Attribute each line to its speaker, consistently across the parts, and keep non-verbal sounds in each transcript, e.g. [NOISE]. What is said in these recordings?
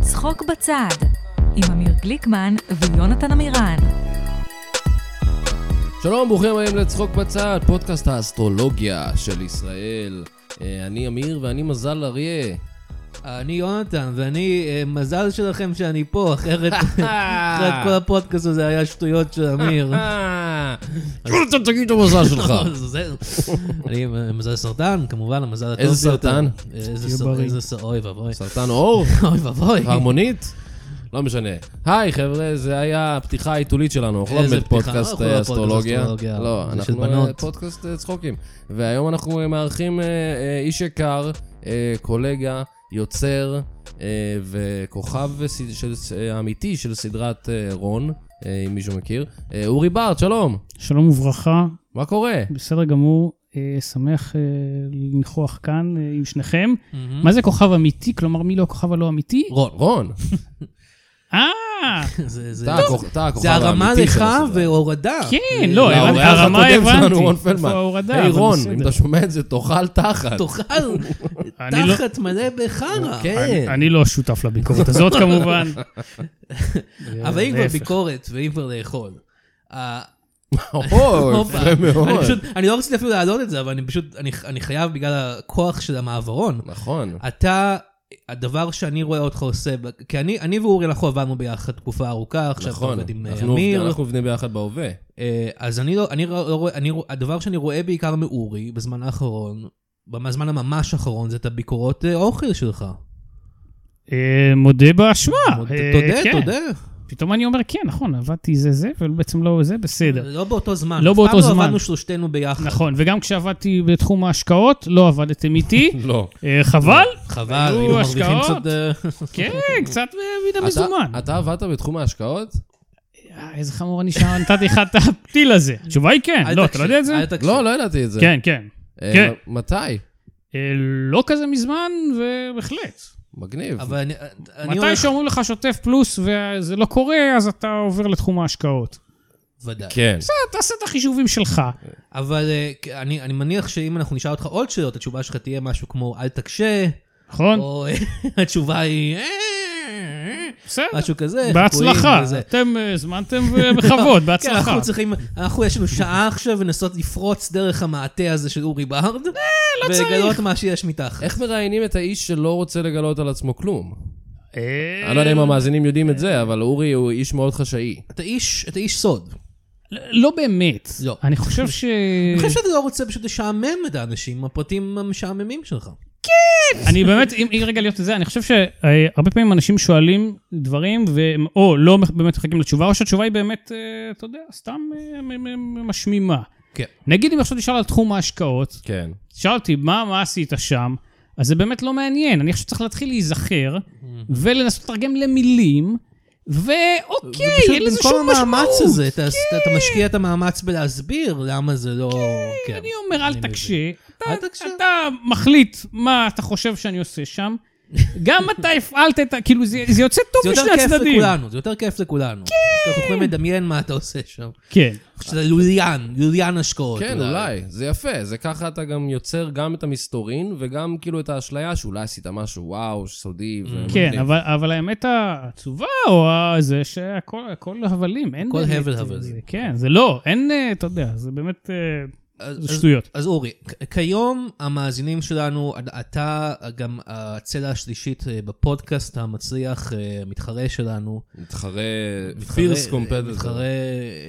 Speaker 1: צחוק בצד, עם אמיר גליקמן ויונתן עמירן.
Speaker 2: שלום, ברוכים היום לצחוק בצד, פודקאסט האסטרולוגיה של ישראל. אה, אני אמיר ואני מזל אריה.
Speaker 3: אני יונתן, ואני, אה, מזל שלכם שאני פה,
Speaker 4: [LAUGHS]
Speaker 3: אחרת אחרת כל הפודקאסט הזה היה שטויות של
Speaker 4: [LAUGHS]
Speaker 3: אמיר.
Speaker 2: אה, יונתן, תגיד את המזל שלך.
Speaker 3: זה- אני אה, מזל סרטן, כמובן, המזל הטוב
Speaker 2: איזה סרטן?
Speaker 3: ביותר. אה, איזה סרטן? איזה סרטן? אוי
Speaker 2: [LAUGHS]
Speaker 3: ואבוי.
Speaker 2: סרטן עור?
Speaker 3: [LAUGHS] אוי ואבוי.
Speaker 2: הרמונית? לא משנה. היי חבר'ה, זה היה הפתיחה האייתולית שלנו, אנחנו לא
Speaker 3: איזה
Speaker 2: באמת
Speaker 3: פתיחה?
Speaker 2: פודקאסט
Speaker 3: אנחנו לא
Speaker 2: אה,
Speaker 3: פודקאסט
Speaker 2: אסטרולוגיה.
Speaker 3: אסטרולוגיה,
Speaker 2: לא,
Speaker 3: זה של
Speaker 2: אנחנו אה,
Speaker 3: בנות.
Speaker 2: פודקאסט אה, צחוקים. והיום אנחנו אה, מארחים אה, אה, איש יקר, אה, קולגה, יוצר אה, וכוכב ס- של- אה, אמיתי של סדרת אה, רון, אה, אם מישהו מכיר. אה, אורי בארט, שלום,
Speaker 4: שלום וברכה,
Speaker 2: מה קורה?
Speaker 4: בסדר גמור, אה, שמח אה, לנכוח כאן אה, עם שניכם.
Speaker 3: מהמם.
Speaker 4: מה זה כוכב אמיתי? כלומר, מי לא הכוכב
Speaker 3: [LAUGHS]
Speaker 4: הלא אמיתי?
Speaker 2: רון. רון,
Speaker 4: אה,
Speaker 3: זה- זה-
Speaker 2: אתה הכוכ- אתה הכוכב
Speaker 3: זה הרמה
Speaker 2: האמיתי של
Speaker 3: לך
Speaker 2: הסדרה.
Speaker 3: והורדה. אה,
Speaker 4: כן, לא,
Speaker 2: לאורח
Speaker 4: הבנתי, הרמה
Speaker 2: הקודם שלנו,
Speaker 4: הבנתי.
Speaker 2: רון פלמן.
Speaker 4: איפה ההורדה?
Speaker 2: היי
Speaker 4: אבל
Speaker 2: רון,
Speaker 4: בסדר.
Speaker 2: אם אתה שומע את זה, תאכל תחת.
Speaker 3: תאכל
Speaker 4: [LAUGHS] אני לא-
Speaker 3: תחת מלא בחרא.
Speaker 2: כן.
Speaker 4: אני לא שותף
Speaker 3: [LAUGHS]
Speaker 4: לביקורת הזאת כמובן.
Speaker 3: אבל אם כבר
Speaker 4: להפך.
Speaker 3: ביקורת, ואם כבר לאכול. אה,
Speaker 2: אוי,
Speaker 3: הופה.
Speaker 2: יפה
Speaker 3: אוקיי. אני
Speaker 2: מאוד.
Speaker 3: פשוט, אני לא רציתי אפילו להעלות את זה, אבל אני פשוט, אני- אני חייב בגלל הכוח של המעברון.
Speaker 2: נכון.
Speaker 3: אתה, הדבר שאני רואה אותך עושה, ב- כי אני, אני ואורי אנחנו עבדנו ביחד תקופה ארוכה, עכשיו אתה
Speaker 2: נכון,
Speaker 3: עובד עם אה,
Speaker 2: אנחנו עובדים-
Speaker 3: אמיר,
Speaker 2: אנחנו עובדים ביחד בהווה.
Speaker 3: אה, אז אני לא, אני לא לא רואה, אני, רוא- הדבר שאני רואה בעיקר מאורי בזמן האחרון, בזמן הממש האחרון, זה את הביקורות אה, אוכל שלך.
Speaker 4: אה, מודה באשמה. אה,
Speaker 3: תודה,
Speaker 4: כן.
Speaker 3: תודה.
Speaker 4: פתאום אני אומר, כן, נכון, עבדתי זה זה, אבל בעצם לא זה,
Speaker 3: [LAUGHS]
Speaker 4: בסדר.
Speaker 3: לא באותו זמן.
Speaker 4: לא באותו
Speaker 3: אף פעם לא
Speaker 4: זמן.
Speaker 3: עבדנו שלושתנו ביחד.
Speaker 4: נכון, וגם כשעבדתי בתחום ההשקעות, לא עבדתם איתי.
Speaker 2: לא.
Speaker 4: אה, חבל,
Speaker 3: חבל,
Speaker 4: היו
Speaker 3: היינו מרוויחים
Speaker 4: השקעות.
Speaker 3: קצת... אה, [LAUGHS]
Speaker 4: כן, קצת מן
Speaker 2: אתה-
Speaker 4: המזומן.
Speaker 2: אתה עבדת בתחום ההשקעות?
Speaker 4: אה, איזה חמור אני שם, נתתי לך את
Speaker 3: [LAUGHS]
Speaker 4: הטיל הזה. התשובה היא כן,
Speaker 3: אל
Speaker 4: לא, אתה
Speaker 3: תקשיב,
Speaker 4: לא יודע את זה?
Speaker 3: אה, אל תקשיב.
Speaker 2: לא, לא ידעתי את זה.
Speaker 4: כן, כן.
Speaker 2: אה,
Speaker 4: כן.
Speaker 2: מ- מתי?
Speaker 4: אה, לא כזה מזמן, ובהחלט.
Speaker 2: מגניב.
Speaker 3: אבל אני- אני
Speaker 4: מתי
Speaker 3: הולך...
Speaker 4: שאומרים לך שוטף פלוס וזה לא קורה, אז אתה עובר לתחום ההשקעות.
Speaker 3: ודאי.
Speaker 2: כן.
Speaker 4: אתה תעשה את החישובים שלך.
Speaker 3: אבל אה, אני אני מניח שאם אנחנו נשאל אותך עוד שאלות, התשובה שלך תהיה משהו כמו אל תקשה.
Speaker 4: נכון?
Speaker 3: או אה, [LAUGHS] התשובה היא... "אה",
Speaker 4: בסדר.
Speaker 3: משהו כזה.
Speaker 4: בהצלחה.
Speaker 3: חיקויים וזה.
Speaker 4: אתם אה, הזמנתם אה, בכבוד,
Speaker 3: [LAUGHS] כן,
Speaker 4: בהצלחה.
Speaker 3: אנחנו צריכים, אנחנו יש לנו שעה עכשיו לנסות לפרוץ דרך המעטה הזה של אורי בארד,
Speaker 4: אה, לא
Speaker 3: ולגלות מה שיש מתחת.
Speaker 2: איך מראיינים את האיש שלא רוצה לגלות על עצמו כלום?
Speaker 4: אה,
Speaker 2: אני לא יודע אם המאזינים יודעים את זה, אבל אורי הוא איש מאוד חשאי.
Speaker 3: אתה איש, אתה איש סוד.
Speaker 4: לא באמת.
Speaker 3: לא.
Speaker 4: אני חושב ש...
Speaker 3: אני חושב שאתה לא רוצה פשוט לשעמם את האנשים עם הפרטים המשעממים שלך.
Speaker 4: אני באמת, אם אם רגע להיות זה, אני חושב שהרבה פעמים אנשים שואלים דברים, והם או לא באמת מחכים לתשובה, או שהתשובה היא באמת, אה, אתה יודע, סתם אה, מ- מ- מ- משמימה.
Speaker 3: כן.
Speaker 4: נגיד אם עכשיו תשאל על תחום ההשקעות,
Speaker 2: כן.
Speaker 4: תשאל אותי, מה, מה עשית שם? אז זה באמת לא מעניין. אני חושב שצריך להתחיל להיזכר,
Speaker 3: Mm-hmm.
Speaker 4: ולנסות לתרגם למילים, ואוקיי, אין אה, לזה שום משמעות. כן.
Speaker 3: במקום המאמץ הזה, אתה- אתה משקיע את המאמץ בלהסביר למה זה לא... כן.
Speaker 4: אני אומר, אל
Speaker 3: מבין.
Speaker 4: תקשה. אתה-
Speaker 3: אל תקשה.
Speaker 4: אתה מחליט מה אתה חושב שאני עושה שם. גם אתה הפעלת את ה... כאילו, זה זה יוצא
Speaker 3: זה
Speaker 4: טוב
Speaker 3: יותר
Speaker 4: לשני
Speaker 3: כיף
Speaker 4: הצדדים.
Speaker 3: לכולנו, זה יותר כיף לכולנו. כן. אנחנו יכולים לדמיין מה אתה עושה שם.
Speaker 4: כן.
Speaker 3: שזה לוליין, לוליין השקעות.
Speaker 2: כן, אולי. זה יפה. זה ככה אתה גם יוצר גם את המסתורין וגם כאילו את האשליה שאולי עשית משהו וואו, סודי. ו-
Speaker 4: כן,
Speaker 2: מגניב.
Speaker 4: אבל, אבל האמת העצובה, או ה- זה שהכל הכל הבלים, אין
Speaker 3: הכל
Speaker 4: באמת,
Speaker 3: הבל
Speaker 4: זה-
Speaker 3: הבל.
Speaker 4: זה- כן, זה לא, אין, אה, אתה יודע, זה באמת, אה,
Speaker 3: אז-
Speaker 4: זה
Speaker 3: אז-
Speaker 4: שטויות.
Speaker 3: אז אורי, כ- כיום המאזינים שלנו, אתה גם הצלע השלישית אה, בפודקאסט המצליח, אה, מתחרה שלנו.
Speaker 2: מתחרה,
Speaker 3: מתחרה-
Speaker 2: פירס
Speaker 3: מתחרה
Speaker 2: קומפטטור.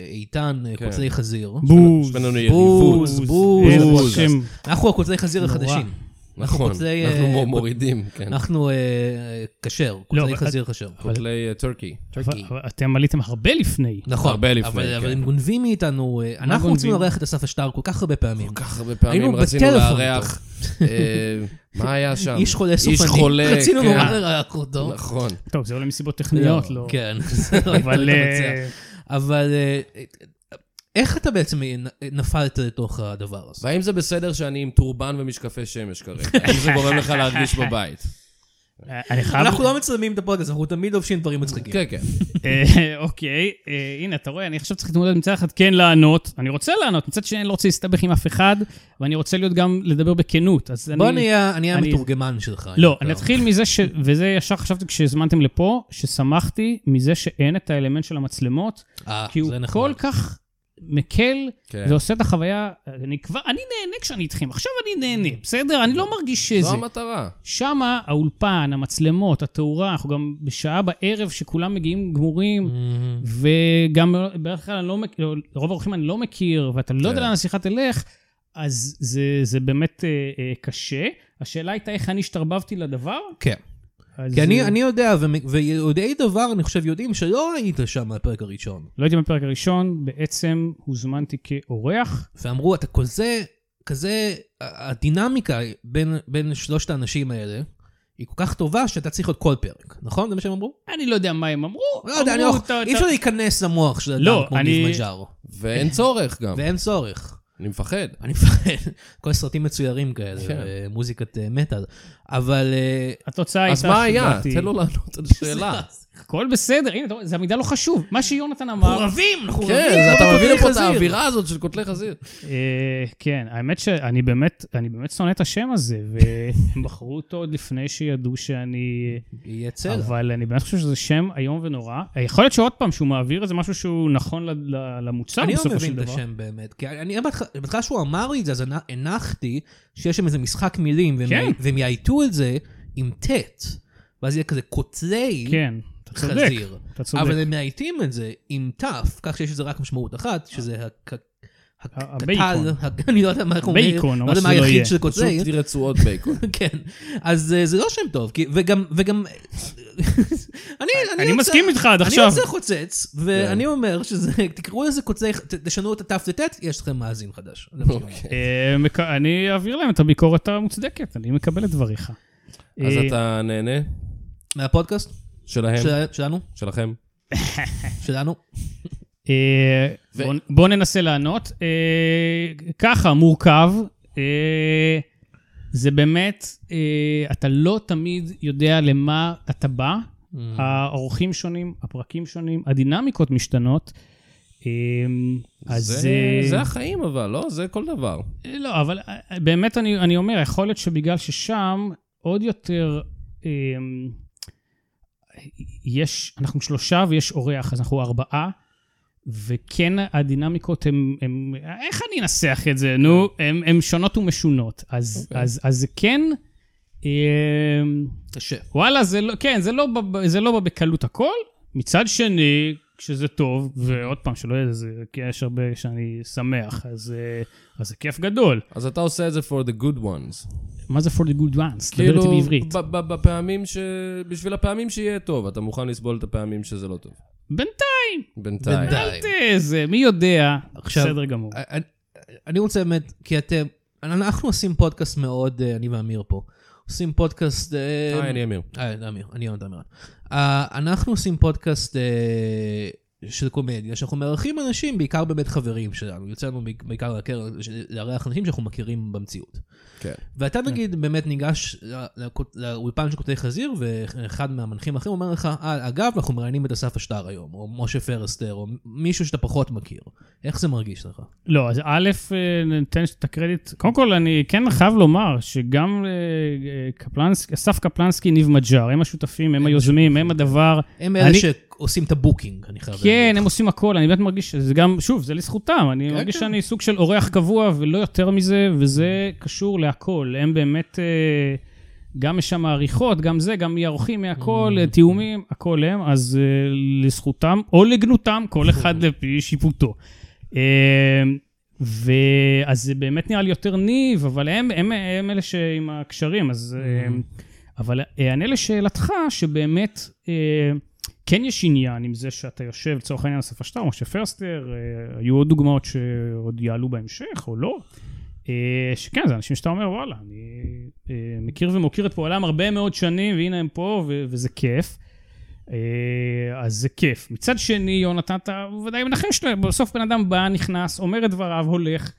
Speaker 3: איתן, אה,
Speaker 2: כן.
Speaker 3: קוצלי חזיר.
Speaker 4: בוז. אה,
Speaker 2: יש בינינו יריבות.
Speaker 3: בוז, לא- בוז.
Speaker 4: אין
Speaker 2: בוז.
Speaker 4: אנשים.
Speaker 3: אנחנו הקוצלי חזיר
Speaker 4: נורא.
Speaker 3: החדשים.
Speaker 2: נכון,
Speaker 3: קוצלי,
Speaker 2: אנחנו
Speaker 3: אה,
Speaker 2: מור- מורידים, כן.
Speaker 3: אנחנו אה, אה, כשר,
Speaker 4: לא,
Speaker 3: קוצלי
Speaker 4: אבל-
Speaker 3: חזיר כשר.
Speaker 2: כותלי אה, טורקי.
Speaker 4: אבל- אבל אתם עליתם הרבה לפני.
Speaker 3: נכון,
Speaker 2: הרבה לפני,
Speaker 3: אבל, אבל
Speaker 2: כן.
Speaker 3: הם גונבים מאיתנו, אה, אנחנו רוצים
Speaker 4: גונבים?
Speaker 3: לארח את אסף אשטר כל כך הרבה פעמים.
Speaker 2: כל כך הרבה
Speaker 3: היינו
Speaker 2: פעמים רצינו
Speaker 3: בטלפון
Speaker 2: לארח. אה, מה היה שם?
Speaker 3: איש חולה סופני.
Speaker 2: איש חולה,
Speaker 3: רצינו
Speaker 2: כן.
Speaker 3: נורא לארח אותו.
Speaker 2: נכון.
Speaker 4: טוב, זה אולי מסיבות טכניות, לא. [LAUGHS]
Speaker 3: כן, זה לא הייתה
Speaker 4: אבל...
Speaker 3: לבצע.
Speaker 4: אה,
Speaker 3: אבל אה, איך אתה בעצם נפלת לתוך הדבר הזה? [LAUGHS]
Speaker 2: והאם זה בסדר שאני עם טורבן ומשקפי שמש כרגע? האם זה גורם לך להרגיש בבית? האלה.
Speaker 4: אני חייב...
Speaker 3: אנחנו לא מצלמים את הפודקאסט, אנחנו תמיד לובשים דברים מצחיקים.
Speaker 2: כן, כן.
Speaker 4: אה, אוקיי, אה, הנה, אתה רואה, אני עכשיו צריך להתמודד מצד אחד כן לענות, אני רוצה לענות, מצד שני אני לא רוצה להסתבך עם אף אחד, ואני רוצה להיות גם, לדבר בכנות, אז אני...
Speaker 3: בוא נהיה אני
Speaker 4: אני-
Speaker 3: המתורגמן שלך.
Speaker 4: לא,
Speaker 3: יותר.
Speaker 4: אני אתחיל מזה ש... וזה ישר חשבתי כשהזמנתם לפה, ששמחתי מזה שאין את האלמנט של המצלמות,
Speaker 3: אה,
Speaker 4: כי הוא
Speaker 3: זה נחמד.
Speaker 4: כל כך מקל
Speaker 2: כן.
Speaker 4: ועושה את החוויה, אני כבר, אני נהנה כשאני איתכם, עכשיו אני נהנה, בסדר? אני לא מרגיש שזה.
Speaker 2: זו המטרה.
Speaker 4: שמה האולפן, המצלמות, התאורה, אנחנו גם בשעה בערב שכולם מגיעים גמורים,
Speaker 3: מהמם.
Speaker 4: וגם בדרך כלל אני לא מכיר, רוב האורחים אני לא מכיר, ואתה לא יודע
Speaker 2: כן.
Speaker 4: לאן השיחה תלך, אז זה, זה באמת אה, אה, קשה. השאלה הייתה איך אני השתרבבתי לדבר.
Speaker 3: כן.
Speaker 4: אז,
Speaker 3: כי אני,
Speaker 4: אה,
Speaker 3: אני יודע, ומ- ויודעי דבר, אני חושב, יודעים שלא היית שם מהפרק הראשון.
Speaker 4: לא הייתי בפרק הראשון, בעצם הוזמנתי כאורח.
Speaker 3: ואמרו, אתה כזה, כזה, ה- הדינמיקה בין, בין שלושת האנשים האלה, היא כל כך טובה שאתה צריך עוד כל פרק, נכון? זה מה שהם אמרו?
Speaker 4: אני לא יודע מה הם אמרו.
Speaker 3: לא יודע, אני לא...
Speaker 4: אמרו, "אתה-
Speaker 3: אי אפשר
Speaker 4: אתה-"
Speaker 3: להיכנס למוח של
Speaker 4: לא,
Speaker 3: אדם כמו
Speaker 4: אני-
Speaker 3: ניב מג'ארו,
Speaker 2: ואין צורך גם,
Speaker 3: ואין צורך.
Speaker 2: אני מפחד.
Speaker 3: אני מפחד, [LAUGHS] כל סרטים מצוירים כאלה,
Speaker 2: כן.
Speaker 3: אה, מוזיקת אה, מטאל. אבל... אה,
Speaker 4: התוצאה הייתה
Speaker 2: אז מה היה?
Speaker 4: שבאתי-
Speaker 2: תן לו
Speaker 3: [LAUGHS]
Speaker 2: לענות על שאלה.
Speaker 4: הכל בסדר, הנה, אתה רואה, זה המידע לא חשוב. מה שיונתן אמר...
Speaker 3: חורבים, חורבים.
Speaker 2: כן, אז אתה
Speaker 3: חורבים
Speaker 2: מביא לפה את
Speaker 3: חזיר.
Speaker 2: האווירה הזאת של קוטלי חזיר.
Speaker 4: אה, כן, האמת שאני באמת, אני באמת שונא את השם הזה, והם בחרו אותו עוד לפני שידעו שאני... אה,
Speaker 3: יהיה צלע.
Speaker 4: אבל אני באמת חושב שזה שם איום ונורא. יכול להיות שעוד פעם, שהוא מעביר איזה משהו שהוא נכון ל- ל- למוצר
Speaker 3: אני לא
Speaker 4: בסופו של
Speaker 3: מבין
Speaker 4: דבר.
Speaker 3: את השם באמת, כי אני בהתח- בהתחלה שהוא אמר לי את זה, אז הנ- הנחתי שיש שם איזה משחק מילים, והם-
Speaker 4: כן.
Speaker 3: והם יעיטו את זה עם טט, ואז יהיה כזה קוטלי
Speaker 4: כן, אתה צודק.
Speaker 3: חזיר.
Speaker 4: אתה צודק.
Speaker 3: אבל הם מעיטים את זה עם תף, כך שיש לזה רק משמעות אחת, שזה הק- הק-
Speaker 4: ה-
Speaker 3: הקטל,
Speaker 4: הבייקון.
Speaker 3: ה- אני לא יודע מה אומרים,
Speaker 4: בייקון, או
Speaker 3: לא יודע
Speaker 4: מה
Speaker 3: מה
Speaker 4: שזה לא
Speaker 3: היחיד
Speaker 4: יהיה.
Speaker 3: של קוטלי,
Speaker 2: פשוט רצועות בייקון.
Speaker 3: [LAUGHS] כן, אז אה, זה לא שם טוב, כי- וגם, וגם, אני,
Speaker 4: אני
Speaker 3: רוצה-
Speaker 4: מסכים איתך עד
Speaker 3: אני
Speaker 4: עכשיו. כן.
Speaker 3: רוצה חוצץ, ואני אומר שזה, [LAUGHS] תקראו לזה חוצץ, ת- תשנו את התף לטט, יש לכם מאזין חדש. זה מה שאני אומר.
Speaker 4: אה, מק- אני אעביר להם את הביקורת המוצדקת, אני מקבל את דבריך.
Speaker 2: אז
Speaker 4: אה,
Speaker 2: אתה נהנה?
Speaker 3: מהפודקאסט?
Speaker 4: כן.
Speaker 2: שלהם?
Speaker 3: של- שלנו?
Speaker 2: שלכם?
Speaker 3: שלנו?
Speaker 4: אה,
Speaker 2: ו-
Speaker 4: בוא- בוא ננסה לענות. אה, ככה, מורכב. אה, זה באמת, אה, אתה לא תמיד יודע למה אתה בא.
Speaker 2: Mm.
Speaker 4: האורחים שונים, הפרקים שונים, הדינמיקות משתנות. אה, אז
Speaker 2: זה,
Speaker 4: אה,
Speaker 2: זה החיים אבל, לא? זה כל דבר.
Speaker 4: לא, אבל אה, באמת אני, אני אומר, יכול להיות שבגלל ששם עוד יותר אה, יש, אנחנו שלושה ויש אורח, אז אנחנו ארבעה, וכן הדינמיקות הן, הן- איך אני אנסח את זה? נו, הן- הן שונות ומשונות. אז, okay.
Speaker 2: אוקיי.
Speaker 4: אז, אז זה כן, אה,
Speaker 3: קשה.
Speaker 4: וואלה, זה לא, כן, זה לא, בא- זה לא בא בקלות הכל. מצד שני, כשזה טוב, ועוד פעם, שלא יהיה איזה, כי יש הרבה שאני שמח, אז, אה, אז זה כיף גדול.
Speaker 2: אז אתה עושה את זה for the good ones. כאילו,
Speaker 4: מה זה for the good ones? דבר איתי בעברית.
Speaker 2: ב- ב- בפעמים ש... בשביל הפעמים שיהיה טוב, אתה מוכן לסבול את הפעמים שזה לא טוב.
Speaker 4: בינתיים,
Speaker 2: בינתיים.
Speaker 3: בינתיים.
Speaker 4: אל ת... זה, מי יודע.
Speaker 3: עכשיו-
Speaker 4: בסדר גמור.
Speaker 3: אני- אני רוצה באמת, כי אתם, אנחנו עושים פודקאסט מאוד, אה, אני ואמיר פה, עושים פודקאסט... אה,
Speaker 2: היי, אני אמיר.
Speaker 3: אה, לא, אמיר, אני יונתן מירון. אה, אנחנו עושים פודקאסט אה, של קומדיה, שאנחנו מארחים אנשים, בעיקר באמת חברים שלנו. יוצא לנו בעיק- בעיקר להכר- לארח אנשים שאנחנו מכירים במציאות.
Speaker 2: כן.
Speaker 3: ואתה נגיד באמת ניגש ל- לקוט- לאולפן של קוטעי חזיר, ואחד מהמנחים האחרים אומר לך, "אה, אגב, אנחנו מראיינים את אסף אשטר היום, או משה פרסטר, או מישהו שאתה פחות מכיר. איך זה מרגיש לך?
Speaker 4: לא, אז א', אה, ניתן את הקרדיט. קודם כל, אני כן חייב לומר שגם אה, אה, קפלנסקי, אסף קפלנסקי, ניב מג'אר, הם השותפים, הם היוזמים, הם הדבר.
Speaker 3: הם אלה
Speaker 4: אני-
Speaker 3: שעושים את הבוקינג, אני חייב
Speaker 4: כן, הם עושים הכל, אני באמת מרגיש שזה גם, שוב, זה לזכותם, אני
Speaker 3: כן,
Speaker 4: מרגיש
Speaker 3: כן.
Speaker 4: שאני סוג של אורח קבוע ולא יותר מזה, וזה קשור להכל. הם באמת, אה, גם יש שם עריכות, גם זה, גם ערוכים מהכל,
Speaker 3: Mm.
Speaker 4: אה, תיאומים, הכל הם, אז אה, לזכותם או לגנותם, כל אחד לפי שיפוטו. אה, ואז זה באמת נראה לי יותר ניב, אבל הם, הם, הם אלה שעם הקשרים, אז... אה, אבל אענה לשאלתך, שבאמת אה, כן יש עניין עם זה שאתה יושב, לצורך העניין, אסף אשטר, משה פרסטר, אה, היו עוד דוגמאות שעוד יעלו בהמשך, או לא. אה, שכן, זה אנשים שאתה אומר, וואלה, אני אה, מכיר ומוקיר את פועלם הרבה מאוד שנים, והנה הם פה, ו- וזה כיף. אה, אז זה כיף. מצד שני, יונתן, אתה ודאי מנחם שלו, בסוף בן אדם בא, נכנס, אומר את דבריו, הולך.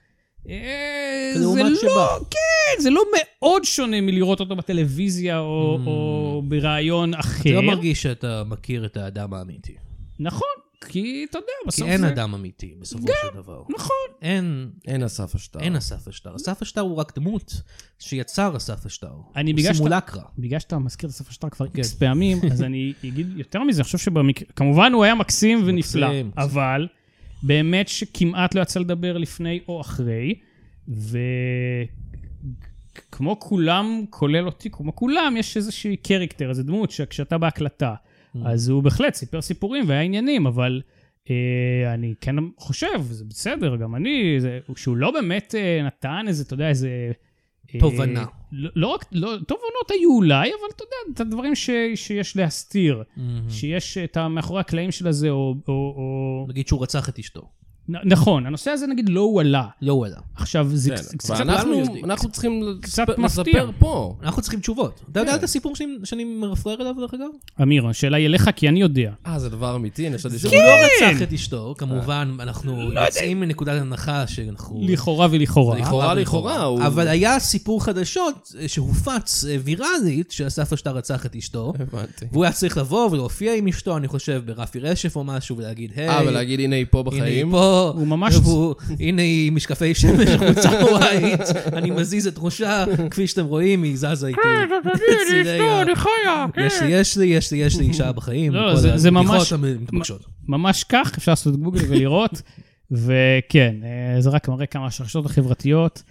Speaker 4: אה, אה, זה
Speaker 3: לעומת
Speaker 4: לא,
Speaker 3: שבא.
Speaker 4: כן, זה לא מאוד שונה מלראות אותו בטלוויזיה או,
Speaker 3: Mm.
Speaker 4: או בראיון אחר.
Speaker 3: אתה לא מרגיש שאתה מכיר את האדם האמיתי.
Speaker 4: נכון, כי אתה יודע,
Speaker 3: כי
Speaker 4: בסוף
Speaker 3: אין
Speaker 4: זה...
Speaker 3: אדם אמיתי בסופו של דבר.
Speaker 4: נכון.
Speaker 3: אין,
Speaker 2: אין אסף השטר.
Speaker 3: אין אסף אשטר. אסף אשטר הוא רק דמות שיצר אסף אשטר.
Speaker 4: אני
Speaker 3: הוא
Speaker 4: בגלל שאתה-
Speaker 3: סימולקרה.
Speaker 4: בגלל שאתה מזכיר את הספר שלך כבר איקס [LAUGHS] פעמים, אז אני אגיד יותר מזה, אני חושב שבמקרה... כמובן הוא היה מקסים ונפלא,
Speaker 3: מקסים.
Speaker 4: אבל באמת שכמעט לא יצא לדבר לפני או אחרי, וכמו כולם, כולל אותי, כמו כולם, יש איזושהי קריקטר, איזו דמות שכשאתה בהקלטה, אז הוא בהחלט סיפר סיפורים והיה עניינים, אבל... אה, אני כן חושב, זה בסדר, גם אני, זה, שהוא לא באמת אה, נתן איזה, אתה יודע, איזה אה,
Speaker 3: תובנה.
Speaker 4: לא לא רק, לא, תובנות היו אולי, אבל אתה יודע, את הדברים ש, שיש להסתיר,
Speaker 3: מהמם.
Speaker 4: שיש את המאחורי הקלעים של הזה, או... או, או...
Speaker 3: נגיד שהוא רצח את אשתו.
Speaker 4: נ, נכון, הנושא הזה נגיד לא הועלה.
Speaker 3: לא הוא עלה.
Speaker 4: עכשיו, זה
Speaker 2: כן,
Speaker 4: קצ- קצת...
Speaker 2: ואנחנו
Speaker 3: כולנו יודעים.
Speaker 2: אנחנו צריכים
Speaker 4: קצת
Speaker 2: לספר-
Speaker 4: מפתיע.
Speaker 2: לספר פה.
Speaker 3: אנחנו צריכים תשובות. אתה
Speaker 4: כן.
Speaker 3: יודע את הסיפור שאני- שאני מרפרר אליו, דרך אגב?
Speaker 4: אמיר, השאלה היא אליך, כי אני יודע.
Speaker 2: אה, זה אה. דבר אמיתי? אני חשבתי ש...
Speaker 3: שהוא לא
Speaker 4: כן!
Speaker 3: רצח את אשתו, כמובן, אנחנו יוצאים מנקודת הנחה שאנחנו...
Speaker 4: לא לכאורה ולכאורה.
Speaker 2: לכאורה,
Speaker 3: ולכאורה.
Speaker 2: לכאורה, הוא-
Speaker 3: אבל היה סיפור חדשות אה, שהופץ אה, ויראלית, שאסף אשתר רצח את אשתו,
Speaker 2: הבנתי.
Speaker 3: והוא היה צריך לבוא ולהופיע עם אשתו, אני חושב, ברפי רשף או משהו, ולהגיד, היי,
Speaker 2: אה, ולהגיד, הנה היא פה
Speaker 3: הנה היא
Speaker 2: בחיים.
Speaker 3: פה,
Speaker 4: הוא ממש-
Speaker 3: והוא- הנה היא משקפי שמש, חולצה הוואית, אני מזיז את ראשה, כפי שאתם רואים, היא זזה איתי. בצדי ה-
Speaker 4: לא, חיה.
Speaker 3: יש לי, יש לי, יש לי, יש לי אישה בחיים.
Speaker 4: לא,
Speaker 3: וכל
Speaker 4: זה- זה
Speaker 3: הבדיחות
Speaker 4: ממש-
Speaker 3: המתבקשות.
Speaker 4: ממש כך, אפשר לעשות גוגל
Speaker 3: [LAUGHS]
Speaker 4: ולראות, וכן, אה, זה רק מראה כמה השרשתות החברתיות.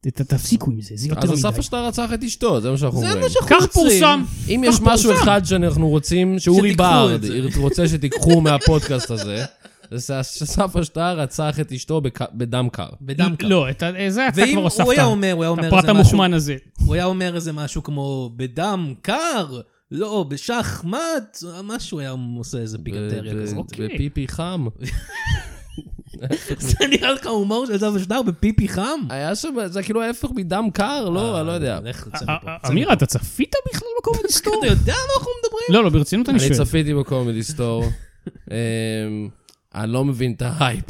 Speaker 4: ת- ת- תפסיקו עם לא זה, זה יותר
Speaker 2: אז
Speaker 4: מדי.
Speaker 2: אסף השטר רצח את אשתו, זה מה שאנחנו
Speaker 3: זה
Speaker 2: אומרים.
Speaker 3: מה שאנחנו
Speaker 4: כך
Speaker 3: רוצים.
Speaker 4: פורסם.
Speaker 2: אם יש
Speaker 4: פורסם.
Speaker 2: משהו אחד שאנחנו רוצים, שאורי
Speaker 3: שתיקחו
Speaker 2: בארד
Speaker 3: את זה.
Speaker 2: [LAUGHS] רוצה שתיקחו מהפודקאסט הזה, זה שאסף השטר רצח את אשתו בק- בדם קר.
Speaker 3: בדם קר.
Speaker 4: לא, את ה- זה אתה
Speaker 3: ואם
Speaker 4: כבר הוספת.
Speaker 3: הוא היה אומר, הוא היה אומר
Speaker 4: את
Speaker 3: איזה
Speaker 4: הפרט
Speaker 3: משהו,
Speaker 4: המוחמן הזה.
Speaker 3: הוא היה אומר איזה משהו כמו בדם קר, לא, בשחמט, משהו היה עושה איזה
Speaker 2: ב-
Speaker 3: פיגנטריה
Speaker 2: ב-
Speaker 3: כזאת. [LAUGHS]
Speaker 4: אוקיי.
Speaker 2: בפיפי חם.
Speaker 3: זה נראה לך הומור של זב ושדר בפיפי חם?
Speaker 2: היה שם, זה כאילו ההפך מדם קר,
Speaker 3: אה,
Speaker 2: לא? אני לא
Speaker 4: אה,
Speaker 2: יודע.
Speaker 3: לך, צא
Speaker 4: א-
Speaker 3: מפה,
Speaker 4: א-
Speaker 3: צא
Speaker 4: אמירה,
Speaker 3: מפה.
Speaker 4: אתה צפית בכלל
Speaker 2: [LAUGHS]
Speaker 4: בקומדי סטור?
Speaker 3: אתה יודע מה אנחנו מדברים?
Speaker 4: לא, לא, ברצינות אני
Speaker 2: אני
Speaker 4: שואל.
Speaker 2: צפיתי בקומדי
Speaker 3: [LAUGHS]
Speaker 2: סטור. אמ, אני לא מבין את ההייפ.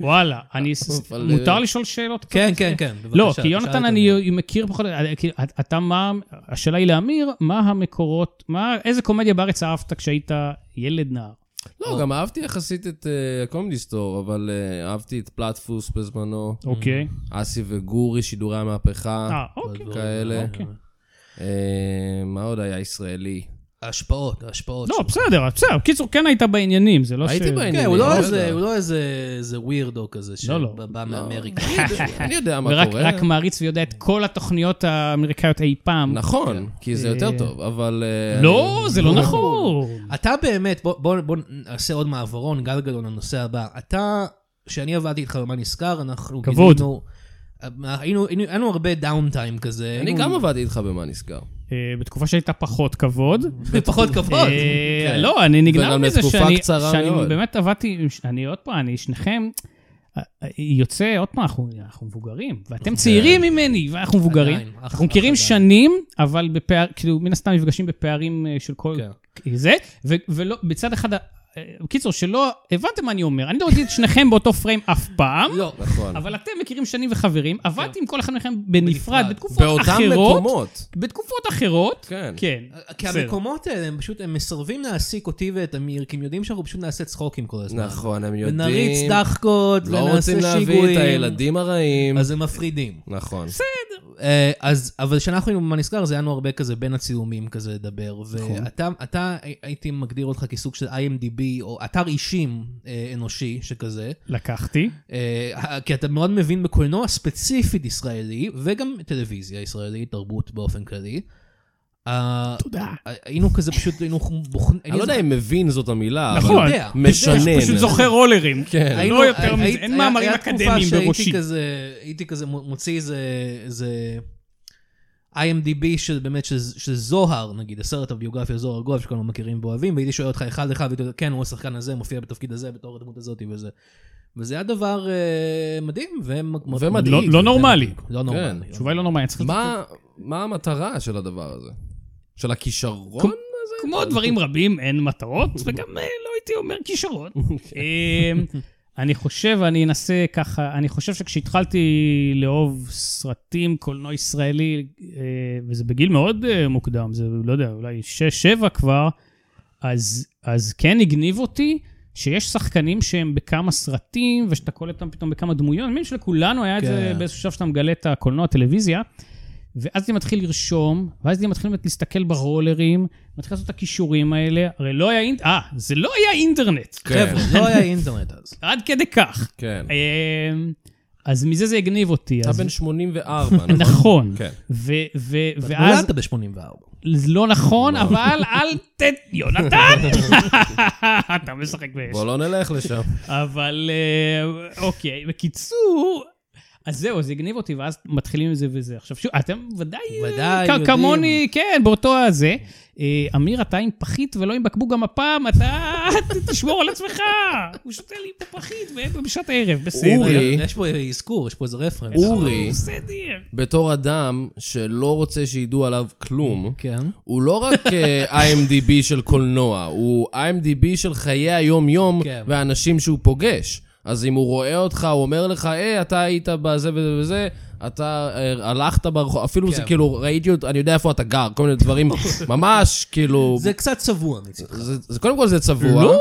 Speaker 4: וואלה, אני...
Speaker 2: אבל,
Speaker 4: מותר
Speaker 2: אה,
Speaker 4: לשאול שאלות?
Speaker 3: כן, כן, כן, בבקשה.
Speaker 4: לא, כי
Speaker 3: תשאל
Speaker 4: יונתן,
Speaker 3: אותנו.
Speaker 4: אני מכיר אה, פחות... כי כאילו, אתה מה... השאלה היא לאמיר, מה המקורות... מה- איזה קומדיה בארץ אהבת כשהיית ילד נער?
Speaker 2: לא, גם אהבתי יחסית את אה, הקומדי סטור, אבל אה, אהבתי את פלטפוס בזמנו,
Speaker 4: אוקיי.
Speaker 2: אסי וגורי, שידורי המהפכה,
Speaker 4: אה, אוקיי.
Speaker 2: כאלה.
Speaker 4: אוקיי.
Speaker 2: אה, מה עוד היה
Speaker 4: [LAUGHS]
Speaker 2: ישראלי?
Speaker 3: ההשפעות, ההשפעות.
Speaker 4: לא,
Speaker 3: שלו.
Speaker 4: בסדר, בסדר. קיצור, כן היית בעניינים, זה לא ש...
Speaker 2: הייתי בעניינים.
Speaker 3: כן, הוא לא
Speaker 2: אני
Speaker 3: איזה-
Speaker 2: יודע.
Speaker 3: הוא לא איזה איזה ווירדו כזה
Speaker 4: לא, לא.
Speaker 3: שבא
Speaker 4: [LAUGHS]
Speaker 3: מאמריקה.
Speaker 2: אני יודע מה
Speaker 4: ורק
Speaker 2: קורה.
Speaker 4: רק מעריץ ויודע את כל התוכניות האמריקאיות אי פעם.
Speaker 2: נכון, כי זה יותר
Speaker 4: אה,
Speaker 2: טוב, אבל... אה,
Speaker 4: לא,
Speaker 2: אני-
Speaker 4: זה לא נכון.
Speaker 3: אתה באמת, בוא, בוא, בוא נעשה עוד מעברון, גל גלאון, לנושא הבא. אתה, שאני עבדתי איתך במה נזכר, אנחנו
Speaker 4: כבוד.
Speaker 3: גילינו... היינו, היינו, היינו הרבה דאונטיים כזה.
Speaker 2: אני
Speaker 3: היינו
Speaker 2: גם עבדתי איתך במה נזכר.
Speaker 4: אה, בתקופה שהייתה פחות כבוד.
Speaker 3: בפחות כבוד.
Speaker 4: אה,
Speaker 2: כן.
Speaker 4: לא, אני נגנב
Speaker 2: וגם
Speaker 4: מזה
Speaker 2: לתקופה
Speaker 4: שאני,
Speaker 2: קצרה
Speaker 4: שאני
Speaker 2: מאוד.
Speaker 4: באמת עבדתי, עם ש- אני עוד פעם, אני שניכם, אה, אה, יוצא, עוד פעם, אנחנו אנחנו מבוגרים, ואתם
Speaker 2: כן.
Speaker 4: צעירים ממני, ואנחנו מבוגרים.
Speaker 3: עדיין, אח-
Speaker 4: אנחנו מכירים
Speaker 3: אח-
Speaker 4: שנים, אבל בפער, כאילו, מן הסתם נפגשים בפערים אה, של כל
Speaker 3: כן.
Speaker 4: זה, ו- ולא, בצד אחד, ה- אה, בקיצור, שלא, הבנתם מה אני אומר, אני לא ראיתי את שניכם באותו פריים אף פעם.
Speaker 3: לא,
Speaker 2: נכון.
Speaker 4: אבל אתם מכירים שנים וחברים, עבדתי עם כל אחד מכם בנפרד,
Speaker 3: בנפרד.
Speaker 4: בתקופות
Speaker 2: כן. באותם
Speaker 4: אחרות.
Speaker 2: מקומות.
Speaker 4: בתקופות אחרות,
Speaker 2: כן.
Speaker 4: כן.
Speaker 3: כי
Speaker 4: בסדר.
Speaker 3: המקומות האלה, הם פשוט, הם מסרבים להעסיק אותי ואת אמיר, כי הם יודעים שאנחנו פשוט נעשה צחוקים כל הזמן.
Speaker 2: נכון, הם יודעים.
Speaker 3: ונריץ דחקות,
Speaker 2: לא
Speaker 3: ונעשה
Speaker 2: רוצים
Speaker 3: שיגועים.
Speaker 2: להביא את הילדים הרעים.
Speaker 3: אז הם מפרידים.
Speaker 2: נכון.
Speaker 3: אה, אז, אבל כשאנחנו היינו במה נזכר, זה היה לנו הרבה כזה בין הצילומים כזה לדבר.
Speaker 2: נכון.
Speaker 3: ואתה, אתה, הי- הייתי מגדיר אותך כסוג של IMDb, או אתר אישים אה, אנושי שכזה,
Speaker 4: לקחתי.
Speaker 3: אה, כי אתה מאוד מבין בקולנוע ספציפית ישראלי, וגם טלוויזיה ישראלית, תרבות באופן כללי. אה,
Speaker 4: תודה.
Speaker 3: היינו כזה פשוט, היינו בוחנים,
Speaker 2: אני לא יודע אם מבין זאת המילה, אבל...
Speaker 4: נכון.
Speaker 3: יודע.
Speaker 2: משנן.
Speaker 4: פשוט זוכר רולרים.
Speaker 2: כן.
Speaker 4: לא יותר מזה, אין מאמרים אקדמיים בראשי.
Speaker 3: הייתי כזה, הייתי כזה מ- מוציא איזה, איזה IMDB של באמת, של, של זוהר, נגיד, הסרט הביוגרפיה זוהר גוב, שכולנו מכירים ואוהבים, והייתי שואל אותך אחד אחד, והייתי אומר, כן, הוא השחקן הזה, מופיע בתפקיד הזה, בתור הדמות הזאת וזה. וזה היה דבר אה, מדהים, ומדהים.
Speaker 2: ומדאיג.
Speaker 4: לא- לא נורמלי.
Speaker 3: לא נורמלי.
Speaker 2: כן.
Speaker 4: התשובה היא לא נורמלית. צריך
Speaker 2: מה- מה המטרה של הדבר הזה? של הכישרון?
Speaker 4: כמו- כמו דברים רבים, אין מטרות, וגם אה, לא הייתי אומר כישרון. אה, אני חושב, אני אנסה ככה, אני חושב שכשהתחלתי לאהוב סרטים, קולנוע ישראלי, אה, וזה בגיל מאוד אה, מוקדם, זה לא יודע, אולי 6-7 כבר, אז, אז כן הגניב אותי שיש שחקנים שהם בכמה סרטים, ושאתה קולט אותם פתאום בכמה דמויות, אני מבין שלכולנו היה את זה
Speaker 3: כן.
Speaker 4: באיזשהו שלב שאתה מגלה את הקולנוע, הטלוויזיה, ואז אתה מתחיל לרשום, ואז אתה מתחיל באמת להסתכל ברולרים, מתחיל לעשות את הכישורים האלה, הרי לא היה אינטרנט, אה, זה לא היה אינטרנט.
Speaker 2: כן.
Speaker 3: חבר'ה, לא היה אינטרנט אז.
Speaker 4: עד כדי כך.
Speaker 2: כן.
Speaker 4: אמ, אז מזה זה הגניב אותי.
Speaker 2: אתה
Speaker 4: אז-
Speaker 2: בן
Speaker 3: [LAUGHS]
Speaker 2: 84, נכון?
Speaker 4: נכון.
Speaker 2: כן.
Speaker 4: ו- ו- [LAUGHS] ואז,
Speaker 3: נולדת ב-84.
Speaker 4: לא נכון, אבל אל ת... יונתן!
Speaker 2: [LAUGHS]
Speaker 4: אתה משחק באש.
Speaker 2: בוא לא נלך לשם.
Speaker 4: אבל אה, אוקיי, בקיצור... אז זהו, זה הגניב אותי, ואז מתחילים עם זה וזה. עכשיו שוב, אתם ודאי, אה,
Speaker 3: ודאי,
Speaker 4: כ-
Speaker 3: יודעים.
Speaker 4: כמוני, כן, באותו הזה. אה, אמיר, אתה עם פחית ולא עם בקבוק גם הפעם, אתה תשמור על עצמך. הוא שותה לי את הפחית ב- בשעת הערב, בסדר.
Speaker 2: אורי.
Speaker 3: יש פה אזכור, יש פה איזה רפרנס.
Speaker 2: אורי, אה?
Speaker 4: בסדר.
Speaker 2: בתור אדם שלא רוצה שידעו עליו כלום,
Speaker 3: כן.
Speaker 2: הוא לא רק אה, IMDb של קולנוע, הוא IMDb של חיי היום-יום
Speaker 3: כן.
Speaker 2: והאנשים שהוא פוגש. אז אם הוא רואה אותך, הוא אומר לך, אה, אתה היית בזה וזה וזה, אתה אה, הלכת ברחוב, אפילו זה
Speaker 3: כן.
Speaker 2: כאילו, ראיתי אותו, אני יודע איפה אתה גר, כל מיני
Speaker 3: [LAUGHS]
Speaker 2: דברים, ממש, כאילו...
Speaker 3: זה קצת צבוע מצדך.
Speaker 2: זה, זה, קודם כל זה צבוע.
Speaker 4: לא!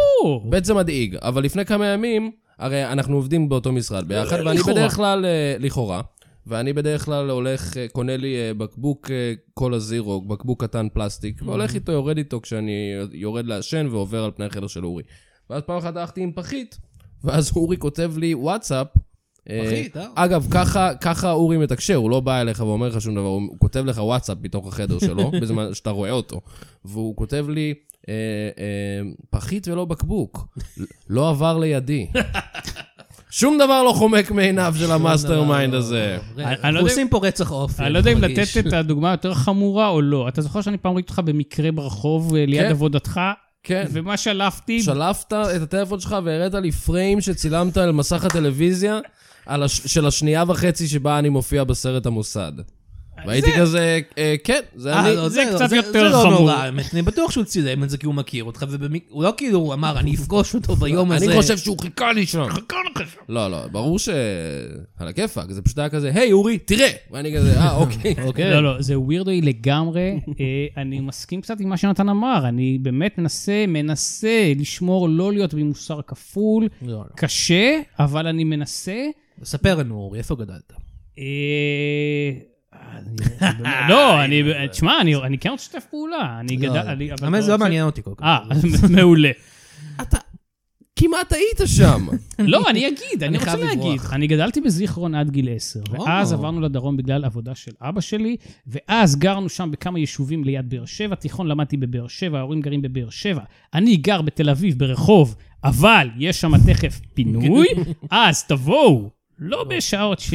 Speaker 2: ב' זה מדאיג, אבל לפני כמה ימים, הרי אנחנו עובדים באותו משרד ביחד, ואני
Speaker 4: לכאורה.
Speaker 2: בדרך כלל, אה, לכאורה, ואני בדרך כלל הולך, אה, קונה לי אה, בקבוק אה, קולה זירו, בקבוק קטן פלסטיק, והולך איתו, יורד איתו כשאני יורד לעשן ועובר על פני החדר של אורי. ואז פעם אחת הלכתי עם פחית, ואז אורי כותב לי וואטסאפ. אה,
Speaker 3: פחית, אה?
Speaker 2: אגב, ככה, ככה אורי מתקשר, הוא לא בא אליך ואומר לך שום דבר, הוא הוא כותב לך וואטסאפ מתוך החדר שלו, בזמן שאתה רואה אותו. והוא כותב לי, אה, אה, פחית ולא בקבוק, לא עבר לידי. שום דבר לא חומק מעיניו של המאסטר מיינד הזה.
Speaker 4: אני- אני לא
Speaker 3: אנחנו
Speaker 4: יודע-
Speaker 3: עושים פה רצח אופי.
Speaker 4: אני לא יודע אם
Speaker 3: מרגיש.
Speaker 4: לתת את הדוגמה היותר חמורה או לא. אתה זוכר שאני פעם ראיתי אותך במקרה ברחוב אה, ליד
Speaker 2: כן.
Speaker 4: עבודתך?
Speaker 2: כן.
Speaker 4: ומה שלפתי,
Speaker 2: שלפת את הטלפון שלך והראית לי פריים שצילמת על מסך הטלוויזיה על הש... של השנייה וחצי שבה אני מופיע בסרט המוסד. והייתי כזה, אה, כן, זה
Speaker 3: אה,
Speaker 2: אני.
Speaker 3: לא,
Speaker 4: זה קצת יותר
Speaker 3: זה לא
Speaker 4: חמור.
Speaker 3: נורא, האמת. אני בטוח שהוא צילם את זה כי הוא מכיר אותך, והוא לא כאילו הוא אמר, אני אפגוש אותו ביום הזה.
Speaker 2: אני חושב שהוא חיכה לי שם. לא, לא, ברור ש... על הכיפאק, זה פשוט היה כזה, היי, אורי, תראה! ואני כזה,
Speaker 3: [LAUGHS]
Speaker 2: אה, אוקיי.
Speaker 3: אוקיי.
Speaker 4: לא, לא, זה ווירדוי
Speaker 3: [LAUGHS]
Speaker 4: לגמרי. אה, אני מסכים קצת עם מה שנתן אמר, אני באמת מנסה, מנסה לשמור, לא להיות במוסר כפול.
Speaker 3: לא, לא.
Speaker 4: קשה, אבל אני מנסה.
Speaker 3: ספר לנו, אורי, איפה גדלת?
Speaker 4: אה, אני-
Speaker 3: [LAUGHS]
Speaker 4: לא, אני, תשמע, אני- אני כן רוצה לשתף פעולה. אני גדל, אני- אבל
Speaker 3: האמת,
Speaker 4: אתה
Speaker 3: זה לא
Speaker 4: רוצה-
Speaker 3: מעניין אותי כל כך.
Speaker 4: אה, [LAUGHS] מעולה.
Speaker 2: כמעט היית שם. [LAUGHS]
Speaker 4: לא, אני אגיד, אני
Speaker 3: אני
Speaker 4: רוצה
Speaker 3: חייב
Speaker 4: להגיד.
Speaker 3: לברוח.
Speaker 4: אני גדלתי בזיכרון עד גיל 10, ואז
Speaker 3: וואו.
Speaker 4: עברנו לדרום בגלל עבודה של אבא שלי, ואז גרנו שם בכמה יישובים ליד באר שבע, תיכון למדתי בבאר שבע, ההורים גרים בבאר שבע. אני גר בתל אביב, ברחוב, אבל יש שם תכף [LAUGHS] פינוי, אז תבואו, לא בשעות ש...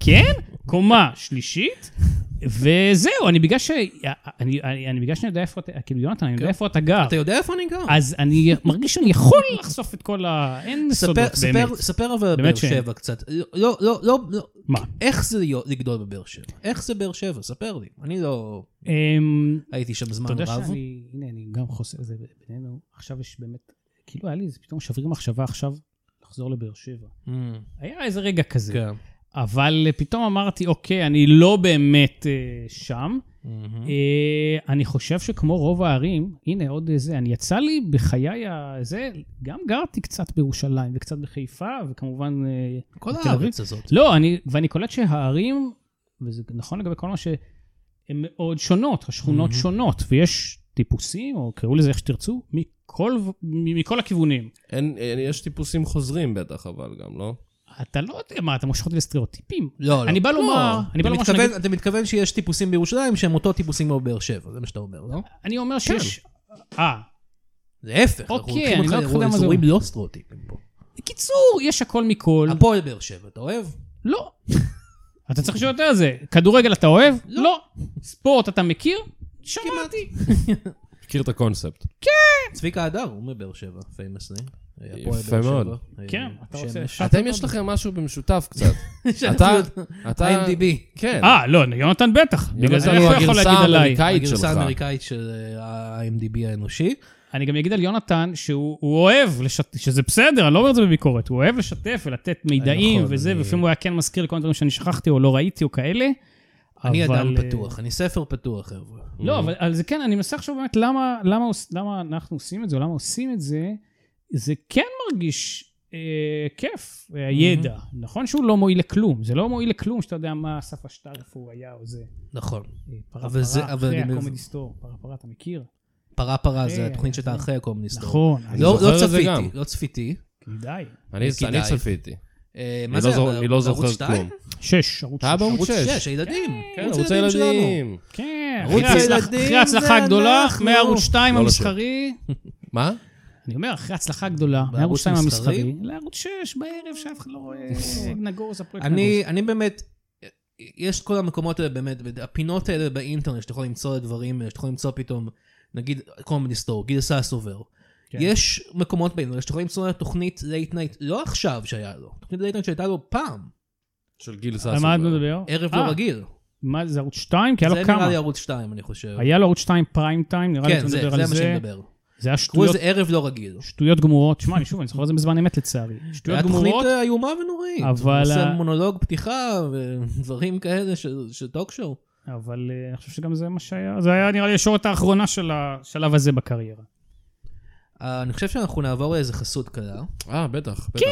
Speaker 4: כן? קומה שלישית. וזהו, אני בגלל ש... אני, אני, אני בגלל שאני יודע איפה אתה... כאילו, יונתן, אני יודע איפה אתה גר.
Speaker 3: אתה יודע איפה אני גר?
Speaker 4: אז אני מרגיש שאני יכול לחשוף את כל ה... אין
Speaker 3: ספר-
Speaker 4: סודות
Speaker 3: ספר-
Speaker 4: באמת.
Speaker 3: ספר אבל
Speaker 4: באמת
Speaker 3: באר
Speaker 4: שאין.
Speaker 3: שבע קצת. לא, לא, לא, לא.
Speaker 4: מה?
Speaker 3: איך זה להיות- לגדול בבאר שבע? איך זה באר שבע? ספר לי. אני לא
Speaker 4: אמ,
Speaker 3: הייתי שם זמן
Speaker 4: אתה
Speaker 3: רב.
Speaker 4: יודע שאני... הנה, אני גם חוסר את זה בינינו. עכשיו יש באמת... כאילו, היה לי איזה פתאום שבריר מחשבה עכשיו לחזור לבאר שבע.
Speaker 3: Mm,
Speaker 4: היה איזה רגע כזה.
Speaker 3: כן.
Speaker 4: אבל אה, פתאום אמרתי, אוקיי, אני לא באמת אה, שם.
Speaker 3: מהמם.
Speaker 4: אה, אני חושב שכמו רוב הערים, הנה עוד אה, זה, אני יצא לי בחיי הזה, גם גרתי קצת בירושלים וקצת בחיפה, וכמובן אה,
Speaker 3: כל
Speaker 4: בתל אביב.
Speaker 3: הארץ הזאת.
Speaker 4: לא, אני, ואני קולט שהערים, וזה נכון לגבי כל מה ש... הן מאוד שונות, השכונות
Speaker 3: Mhm.
Speaker 4: שונות, ויש טיפוסים, או קראו לזה איך שתרצו, מכל, ו- מ- מכל הכיוונים.
Speaker 2: אין, אין, יש טיפוסים חוזרים בטח, אבל גם, לא?
Speaker 4: אתה לא יודע מה, אתה מושך אותי לסטריאוטיפים.
Speaker 3: לא, לא.
Speaker 4: אני בא
Speaker 3: לא.
Speaker 4: לומר- אני
Speaker 3: אתה
Speaker 4: בא לומר
Speaker 3: מתכוון-
Speaker 4: שנגיד-
Speaker 3: אתה מתכוון שיש טיפוסים בירושלים שהם אותו טיפוסים כמו בבאר שבע, זה מה שאתה אומר, לא?
Speaker 4: אני אומר
Speaker 2: כן.
Speaker 4: שיש... אה,
Speaker 3: להפך, אנחנו
Speaker 4: אוקיי,
Speaker 3: לוקחים
Speaker 4: אני
Speaker 3: אותך
Speaker 4: לא יודע מה זה
Speaker 3: לאזורים
Speaker 4: אומר.
Speaker 3: לא סטריאוטיפים פה.
Speaker 4: בקיצור, יש הכל מכל.
Speaker 3: הפועל באר שבע, אתה אוהב?
Speaker 4: לא. [LAUGHS] אתה צריך לשאול יותר על זה. כדורגל אתה אוהב? לא. ספורט אתה מכיר?
Speaker 2: כן.
Speaker 4: שמעתי.
Speaker 2: מכיר את הקונספט.
Speaker 3: צביקה הדר, הוא מבאר שבע, פיימסלי.
Speaker 2: יפה מאוד.
Speaker 4: כן, אתה רוצה...
Speaker 3: לא
Speaker 2: אתם, יש לכם משהו
Speaker 3: [LAUGHS]
Speaker 2: במשותף קצת.
Speaker 3: אתה... לא-
Speaker 2: אתה...
Speaker 3: IMDb.
Speaker 2: כן.
Speaker 4: אה, לא, יונתן בטח. בגלל זה
Speaker 2: יונתן הוא
Speaker 4: איפה יכול
Speaker 2: הגרסה
Speaker 4: להגיד עליי?
Speaker 2: האמריקאית
Speaker 3: הגרסה
Speaker 2: שלך.
Speaker 3: האמריקאית של ה-IMDb האנושי.
Speaker 4: אני גם אגיד על יונתן שהוא הוא אוהב, לשת... שזה בסדר, אני לא אומר את זה בביקורת, הוא אוהב לשתף ולתת מידעים
Speaker 2: נכון,
Speaker 4: וזה,
Speaker 2: אני-
Speaker 4: ולפעמים הוא היה כן מזכיר לי כל מיני דברים שאני שכחתי או לא ראיתי או כאלה.
Speaker 3: אני
Speaker 4: אבל,
Speaker 3: אדם
Speaker 4: אה,
Speaker 3: פתוח, אני ספר פתוח, חבר'ה.
Speaker 4: לא, אבל, אבל זה כן, אני מנסה עכשיו באמת למה, למה, עוש- למה אנחנו עושים את זה, או למה עושים את זה, זה כן מרגיש אה, כיף, אה, הידע. נכון שהוא לא מועיל לכלום, זה לא מועיל לכלום שאתה יודע מה אסף אשטר, איפה הוא היה או זה.
Speaker 3: נכון.
Speaker 4: אה, פרה
Speaker 3: אבל זה-
Speaker 4: פרה,
Speaker 3: אבל
Speaker 4: אחרי
Speaker 3: אני מבין.
Speaker 4: הקומדי סטור, פרה פרה, אתה מכיר?
Speaker 3: פרה פרה זה
Speaker 4: אה,
Speaker 3: התוכנית שאתה
Speaker 4: אה.
Speaker 3: אחרי הקומוניסטור.
Speaker 4: נכון,
Speaker 2: אני
Speaker 3: לא
Speaker 2: זוכר
Speaker 3: לא
Speaker 2: את זה
Speaker 3: צפיתי,
Speaker 2: גם.
Speaker 3: לא צפיתי.
Speaker 4: כדאי.
Speaker 2: אני
Speaker 3: כדאי.
Speaker 2: אני צפיתי.
Speaker 3: אה, מה
Speaker 2: אני
Speaker 3: זה?
Speaker 2: לא זוכר-
Speaker 3: ב-
Speaker 2: אני לא
Speaker 3: בערוץ
Speaker 2: זוכר
Speaker 3: שתיים?
Speaker 2: כלום.
Speaker 4: שש, ערוץ שש.
Speaker 2: אתה בערוץ
Speaker 3: ערוץ
Speaker 2: שש.
Speaker 3: 6, הילדים.
Speaker 2: כן, ערוץ הילדים.
Speaker 4: כן,
Speaker 2: ערוץ
Speaker 4: אחרי ההצלח-
Speaker 3: הילדים
Speaker 4: אחרי ההצלחה
Speaker 3: זה
Speaker 4: הגדולה,
Speaker 3: אנחנו.
Speaker 4: מערוץ 2
Speaker 2: לא
Speaker 4: המסחרי,
Speaker 2: מה?
Speaker 4: אני אומר, אחרי ההצלחה הגדולה, מערוץ
Speaker 3: בערוץ
Speaker 4: 2
Speaker 3: מסחרי? נכון.
Speaker 4: המסחרי, לערוץ 6 בערב שאף אחד לא רואה, נגוז, הפרויקט נגוז.
Speaker 2: כן,
Speaker 3: אני, אני באמת, יש את כל המקומות האלה באמת, הפינות האלה באינטרנט שאתה יכול למצוא דברים, שאתה יכול למצוא פתאום, נגיד קומדי סטור, גיל סאס עובר.
Speaker 4: כן.
Speaker 3: יש מקומות באינטרנט שאתה יכול למצוא תוכנית לייט נייט, לא עכשיו שהיה לו, תוכנית לייט נייט שהייתה לו פעם,
Speaker 2: של גיל
Speaker 4: על מה את
Speaker 2: ססובר.
Speaker 4: מדבר?
Speaker 3: ערב
Speaker 4: אה,
Speaker 3: לא רגיל.
Speaker 4: מה זה, ערוץ 2? כי היה
Speaker 3: זה
Speaker 4: לו
Speaker 3: נראה
Speaker 4: כמה.
Speaker 3: לי ערוץ 2 אני חושב.
Speaker 4: היה לו ערוץ 2 פריים טיים, נראה לי
Speaker 3: כן,
Speaker 4: אתה
Speaker 3: זה,
Speaker 4: מדבר
Speaker 3: זה
Speaker 4: על
Speaker 3: מה שאני
Speaker 4: זה.
Speaker 3: מדבר.
Speaker 4: זה היה
Speaker 3: קראו
Speaker 4: שטויות-
Speaker 3: לזה ערב לא רגיל.
Speaker 4: שטויות גמורות. שמע, אני שוב, אני זוכר את זה בזמן אמת לצערי.
Speaker 3: היה
Speaker 4: שטויות
Speaker 3: תוכנית
Speaker 4: גמורות.
Speaker 3: אה, איומה ונוראית.
Speaker 4: אבל אה,
Speaker 3: הוא עושה
Speaker 4: ה-
Speaker 3: מונולוג פתיחה ודברים כאלה של- של טוק שואו.
Speaker 4: אבל אה, אני חושב שגם זה מה שהיה, זה היה נראה לי הישורת האחרונה של השלב הזה בקריירה.
Speaker 3: אה, אני חושב שאנחנו נעבור לאיזה חסות קלה.
Speaker 2: אה, בטח, בטח.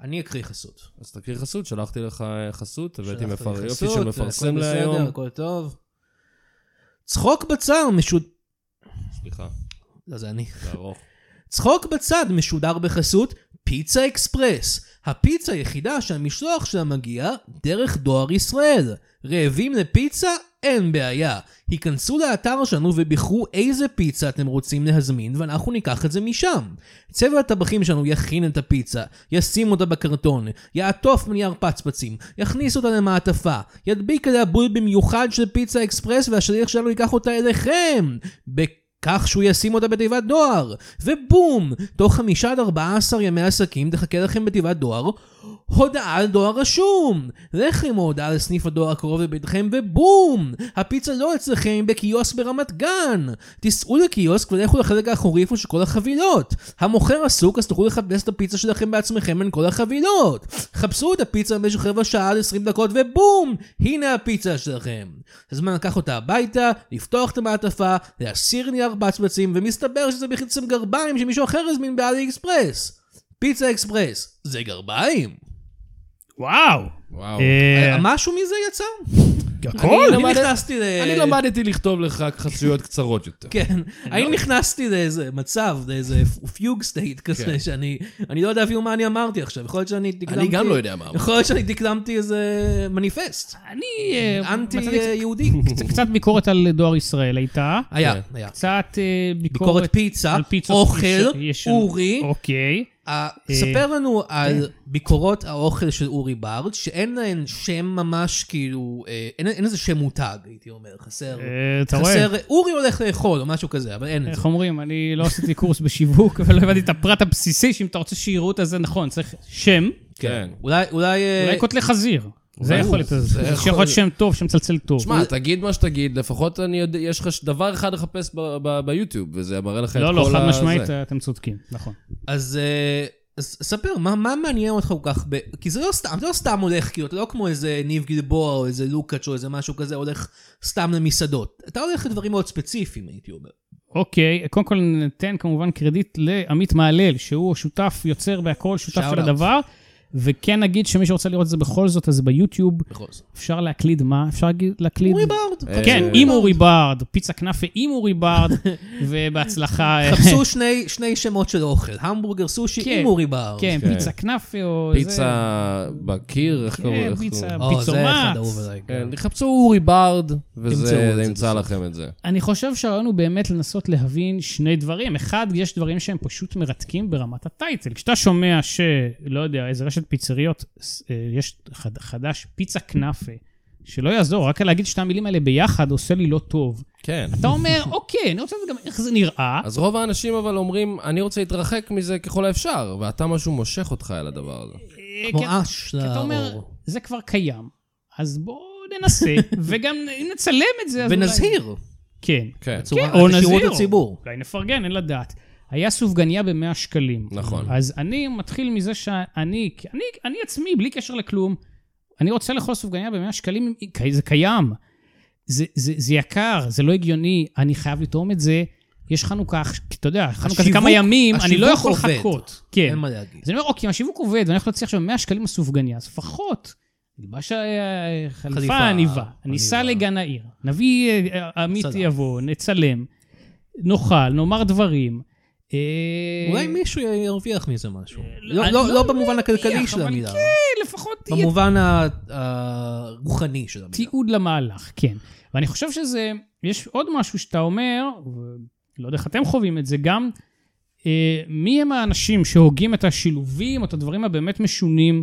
Speaker 3: אני אקריא חסות.
Speaker 2: אז תקריא חסות, שלחתי לך אה, חסות, הבאתי
Speaker 3: שלחת לי
Speaker 2: מפר... יופי
Speaker 3: חסות,
Speaker 2: שמפרסם
Speaker 3: הכל בסדר,
Speaker 2: להיום.
Speaker 3: הכל טוב. צחוק בצד משוד...
Speaker 2: סליחה,
Speaker 3: לא, זה אני.
Speaker 2: זה ארוך.
Speaker 3: צחוק בצד משודר בחסות פיצה אקספרס. הפיצה היחידה שהמשלוח שלה מגיע דרך דואר ישראל. רעבים לפיצה? אין בעיה. היכנסו לאתר שלנו ובחרו איזה פיצה אתם רוצים להזמין ואנחנו ניקח את זה משם. צוות הטבחים שלנו יכין את הפיצה, ישים אותה בקרטון, יעטוף בנייר פצפצים, יכניס אותה למעטפה, ידביק עליה בול במיוחד של פיצה אקספרס והשליח שלנו ייקח אותה אליכם! בכך שהוא ישים אותה בתיבת דואר, ובום! תוך חמישה עד ארבעה עשר ימי עסקים תחכה לכם בתיבת דואר הודעה על דואר רשום! לכו עם ההודעה לסניף הדואר הקרוב לביתכם ובום! הפיצה לא אצלכם היא בקיוסק ברמת גן! תיסעו לקיוסק ולכו לחלק האחורי איפה שכל החבילות! המוכר עסוק אז תוכלו לחפש את הפיצה שלכם בעצמכם בין כל החבילות! חפשו את הפיצה במשך רבע שעה עד 20 דקות ובום! הנה הפיצה שלכם! הזמן לקח אותה הביתה, לפתוח את המעטפה, להסיר נייר בצבצים ומסתבר שזה בעצם גרביים שמישהו אחר הזמין באלי אקספרס! פיצה אקספרס, זה גרביים!
Speaker 4: וואו!
Speaker 2: וואו.
Speaker 4: אה,
Speaker 3: משהו מזה יצא?
Speaker 2: הכל?
Speaker 3: אני נכנסתי ל...
Speaker 2: אני למדתי לכתוב לך חסויות קצרות יותר.
Speaker 3: כן, [LAUGHS] אני נכנסתי לאיזה מצב, לאיזה פיוג סטייט
Speaker 2: כן.
Speaker 3: כזה, שאני אני לא יודע אפילו מה אני אמרתי עכשיו, יכול להיות שאני דקלמתי...
Speaker 2: אני גם לא יודע מה אמרתי.
Speaker 3: יכול להיות שאני דקלמתי איזה מניפסט,
Speaker 4: אני... אה, מצאתי קצת-
Speaker 3: אנטי-יהודי.
Speaker 4: קצת ביקורת על דואר ישראל הייתה.
Speaker 3: היה,
Speaker 2: כן.
Speaker 3: היה.
Speaker 4: קצת אה,
Speaker 3: ביקורת
Speaker 4: ביקורת
Speaker 3: פיצה,
Speaker 4: על פיצות
Speaker 3: אוכל,
Speaker 4: יש- יש-
Speaker 3: אורי.
Speaker 4: אוקיי.
Speaker 3: אה, ספר לנו
Speaker 4: כן.
Speaker 3: על ביקורות האוכל של אורי בארד, שאין להן שם ממש כאילו, אה, אין- אין איזה שם מותג, הייתי אומר, חסר.
Speaker 4: אה, אתה רואה?
Speaker 3: חסר, אורי הולך לאכול או משהו כזה, אבל אין את זה.
Speaker 4: איך אומרים, אני לא עשיתי קורס בשיווק, [LAUGHS] אבל לא הבנתי את הפרט הבסיסי, שאם אתה רוצה שיראו את הזה נכון, צריך שם,
Speaker 3: אה,
Speaker 2: כן.
Speaker 3: אולי, אולי... אה,
Speaker 4: אולי קוטלי חזיר. זה
Speaker 2: ברור,
Speaker 4: יכול להיות,
Speaker 2: זה
Speaker 4: זה
Speaker 2: יכול
Speaker 4: יכול להיות שם טוב, שמצלצל טוב. לא,
Speaker 2: שמע, תגיד מה שתגיד, לפחות אני יודע, יש לך ש- דבר אחד לחפש ב- ב- ביוטיוב, וזה מראה לך את כל
Speaker 4: לא, לא, חד
Speaker 2: ה-
Speaker 4: משמעית,
Speaker 2: זה.
Speaker 4: אתם צודקים, נכון.
Speaker 3: אז, אה, אז ספר, מה, מה מעניין אותך כל כך ב... כי זה לא סתם, זה לא סתם הולך, כאילו, אתה לא כמו איזה ניב גלבוע או איזה לוקאץ' או איזה משהו כזה, הולך סתם למסעדות. אתה הולך לדברים מאוד ספציפיים, הייתי אומר.
Speaker 4: אוקיי, קודם כל ניתן כמובן קרדיט לעמית מהלל, שהוא שותף יוצר בהכל, שותף
Speaker 3: Shout
Speaker 4: של
Speaker 3: out.
Speaker 4: הדבר, וכן נגיד שמי שרוצה לראות את זה בכל זאת, אז ביוטיוב
Speaker 3: בכל זאת.
Speaker 4: אפשר להקליד מה? אפשר להגיד- להקליד...
Speaker 3: אורי בארד.
Speaker 2: אה,
Speaker 4: כן,
Speaker 2: אורי
Speaker 4: עם אורי בארד, פיצה כנאפה עם
Speaker 2: [LAUGHS]
Speaker 4: אורי בארד, ובהצלחה. אה,
Speaker 3: חפשו שני, שני שמות של אוכל, המבורגר סושי
Speaker 4: כן,
Speaker 3: עם אורי בארד.
Speaker 4: [LAUGHS] כן,
Speaker 2: כן.
Speaker 4: פיצה כנאפה או... אה, זה.
Speaker 2: פיצה בקיר, איך קוראים
Speaker 4: כן,
Speaker 2: לך?
Speaker 4: פיצה,
Speaker 2: קוראים?
Speaker 3: או, אה, זה אחד
Speaker 4: פיצומט.
Speaker 3: אהוב עליי.
Speaker 2: כן, תחפשו אורי בארד,
Speaker 3: תמצאו את
Speaker 2: וזה
Speaker 3: זה
Speaker 2: ימצא
Speaker 3: בסוף.
Speaker 2: לכם את זה.
Speaker 4: אני חושב שהרעיון הוא באמת לנסות להבין שני דברים. אחד, יש דברים שהם פשוט מרתקים ברמת הטייטל. כשאתה שומע שלא יודע, איזה רשת פיצריות, ס- אה, יש חד, חדש, פיצה כנאפה, שלא יעזור, רק להגיד שתי המילים האלה ביחד עושה לי לא טוב.
Speaker 2: כן.
Speaker 4: אתה
Speaker 2: [LAUGHS]
Speaker 4: אומר, אוקיי, אני רוצה לדעת גם איך זה נראה.
Speaker 2: אז רוב האנשים אבל אומרים, אני רוצה להתרחק מזה ככל האפשר, ואתה משהו מושך אותך אל הדבר הזה.
Speaker 4: אה,
Speaker 3: כמו
Speaker 4: כן,
Speaker 3: אש
Speaker 4: כי אתה אומר,
Speaker 3: לאור.
Speaker 4: זה
Speaker 3: [LAUGHS]
Speaker 4: כבר קיים, אז בואו ננסה, וגם אם נצלם את זה, אז אולי...
Speaker 3: ונזהיר.
Speaker 4: כן.
Speaker 2: כן.
Speaker 3: בצורה-
Speaker 4: כן, או נזיר.
Speaker 3: לשירות הציבור.
Speaker 4: אולי נפרגן, אין לדעת. היה סופגניה ב-100 שקלים.
Speaker 2: נכון.
Speaker 4: אז אני מתחיל מזה שאני, אני, אני עצמי, בלי קשר לכלום, אני רוצה לאכול סופגניה ב-100 שקלים, כי זה קיים. זה, זה, זה יקר, זה לא הגיוני, אני חייב לטעום את זה. יש חנוכה, אתה יודע, חנוכה זה
Speaker 3: השיווק-
Speaker 4: כמה ימים, אני לא
Speaker 3: השיווק
Speaker 4: יכול
Speaker 3: עובד.
Speaker 4: לחכות. כן.
Speaker 3: אין מה להגיד.
Speaker 4: אז אני אומר, אוקיי, אם השיווק עובד, ואני הולך להוציא עכשיו 100 שקלים לסופגניה, אז לפחות, נלבש אה,
Speaker 3: חליפה,
Speaker 4: חליפה עניבה, ניסע
Speaker 3: עניבה.
Speaker 4: לגן העיר, נביא, אה, עמית
Speaker 3: צלם.
Speaker 4: יבוא, נצלם, נאכל, נאמר דברים. אה,
Speaker 3: אולי מישהו ירוויח מזה משהו. לא-
Speaker 4: אני
Speaker 3: לא
Speaker 4: לא
Speaker 3: לא במובן
Speaker 4: מניח,
Speaker 3: הכלכלי של
Speaker 4: אבל
Speaker 3: המילה,
Speaker 4: כן, לפחות תהיה
Speaker 3: במובן ה- הרוחני של המילה.
Speaker 4: תיעוד למהלך, כן. ואני חושב שזה, יש עוד משהו שאתה אומר, ולא יודע איך אתם חווים את זה, גם אה, מי הם האנשים שהוגים את השילובים, או את הדברים הבאמת משונים,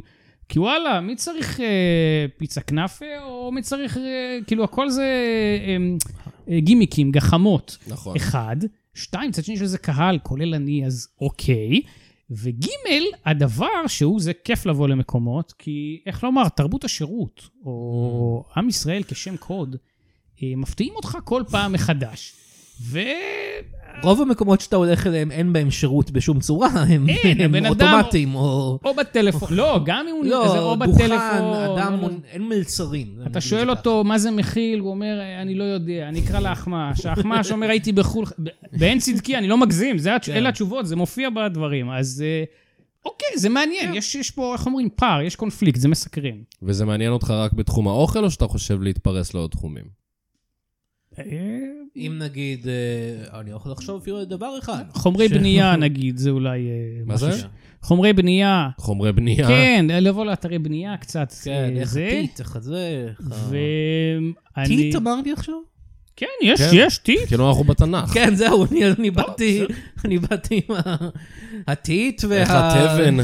Speaker 4: כי וואלה, מי צריך אה, פיצה כנאפה, או מי צריך, אה, כאילו, הכל זה אה, אה, גימיקים, גחמות.
Speaker 2: נכון.
Speaker 4: אחד, שתיים, צד שני של זה קהל, כולל אני, אז אוקיי. וגימל, הדבר שהוא, זה כיף לבוא למקומות, כי איך לומר, תרבות השירות, או
Speaker 3: Mm.
Speaker 4: עם ישראל כשם קוד, אה, מפתיעים אותך כל פעם מחדש. ו...
Speaker 3: רוב המקומות שאתה הולך אליהם, אין בהם שירות בשום צורה, הם
Speaker 4: אין,
Speaker 3: הם
Speaker 4: כן, הבן אדם-
Speaker 3: אוטומטיים, או...
Speaker 4: או בטלפון, לא, גם אם הוא... זה
Speaker 3: לא,
Speaker 4: או
Speaker 3: דוכן,
Speaker 4: בטלפון,
Speaker 3: אדם,
Speaker 4: לא יודע.
Speaker 3: אין מלצרים.
Speaker 4: אתה שואל אותו מה זה מכיל, הוא אומר, אני לא יודע, אני אקרא לאחמ"ש. האחמ"ש אומר, הייתי בחו"ל, ב- בעין צדקי, אני לא מגזים, זה התש-
Speaker 3: כן.
Speaker 4: אלה התשובות, זה מופיע בדברים. אז אה, אוקיי, זה
Speaker 3: כן.
Speaker 4: מעניין, יש יש פה, איך אומרים, פער, יש קונפליקט, זה מסקרן.
Speaker 2: וזה מעניין אותך רק בתחום האוכל, או שאתה חושב להתפרס לעוד תחומים?
Speaker 3: אה, אם נגיד, אה, אני יכול לחשוב אפילו על דבר אחד.
Speaker 4: חומרי
Speaker 3: ש- [LAUGHS]
Speaker 4: בנייה, נגיד, זה אולי... אה,
Speaker 2: מה זה?
Speaker 4: משהו ש- חומרי בנייה,
Speaker 2: חומרי בנייה.
Speaker 4: כן, לבוא לאתרי בנייה קצת,
Speaker 3: אה. כן,
Speaker 4: אה,
Speaker 3: איך
Speaker 4: זה.
Speaker 3: טיט, איך זה, איך ה-
Speaker 4: ואני...
Speaker 3: טיט אמרתי עכשיו?
Speaker 4: כן, יש,
Speaker 2: כן.
Speaker 4: יש, טיט.
Speaker 2: כאילו אנחנו בתנ"ך.
Speaker 3: כן, זהו,
Speaker 4: [LAUGHS]
Speaker 3: אני- אני באתי, אני באתי עם ה- הטיט וה...
Speaker 2: איך התבן,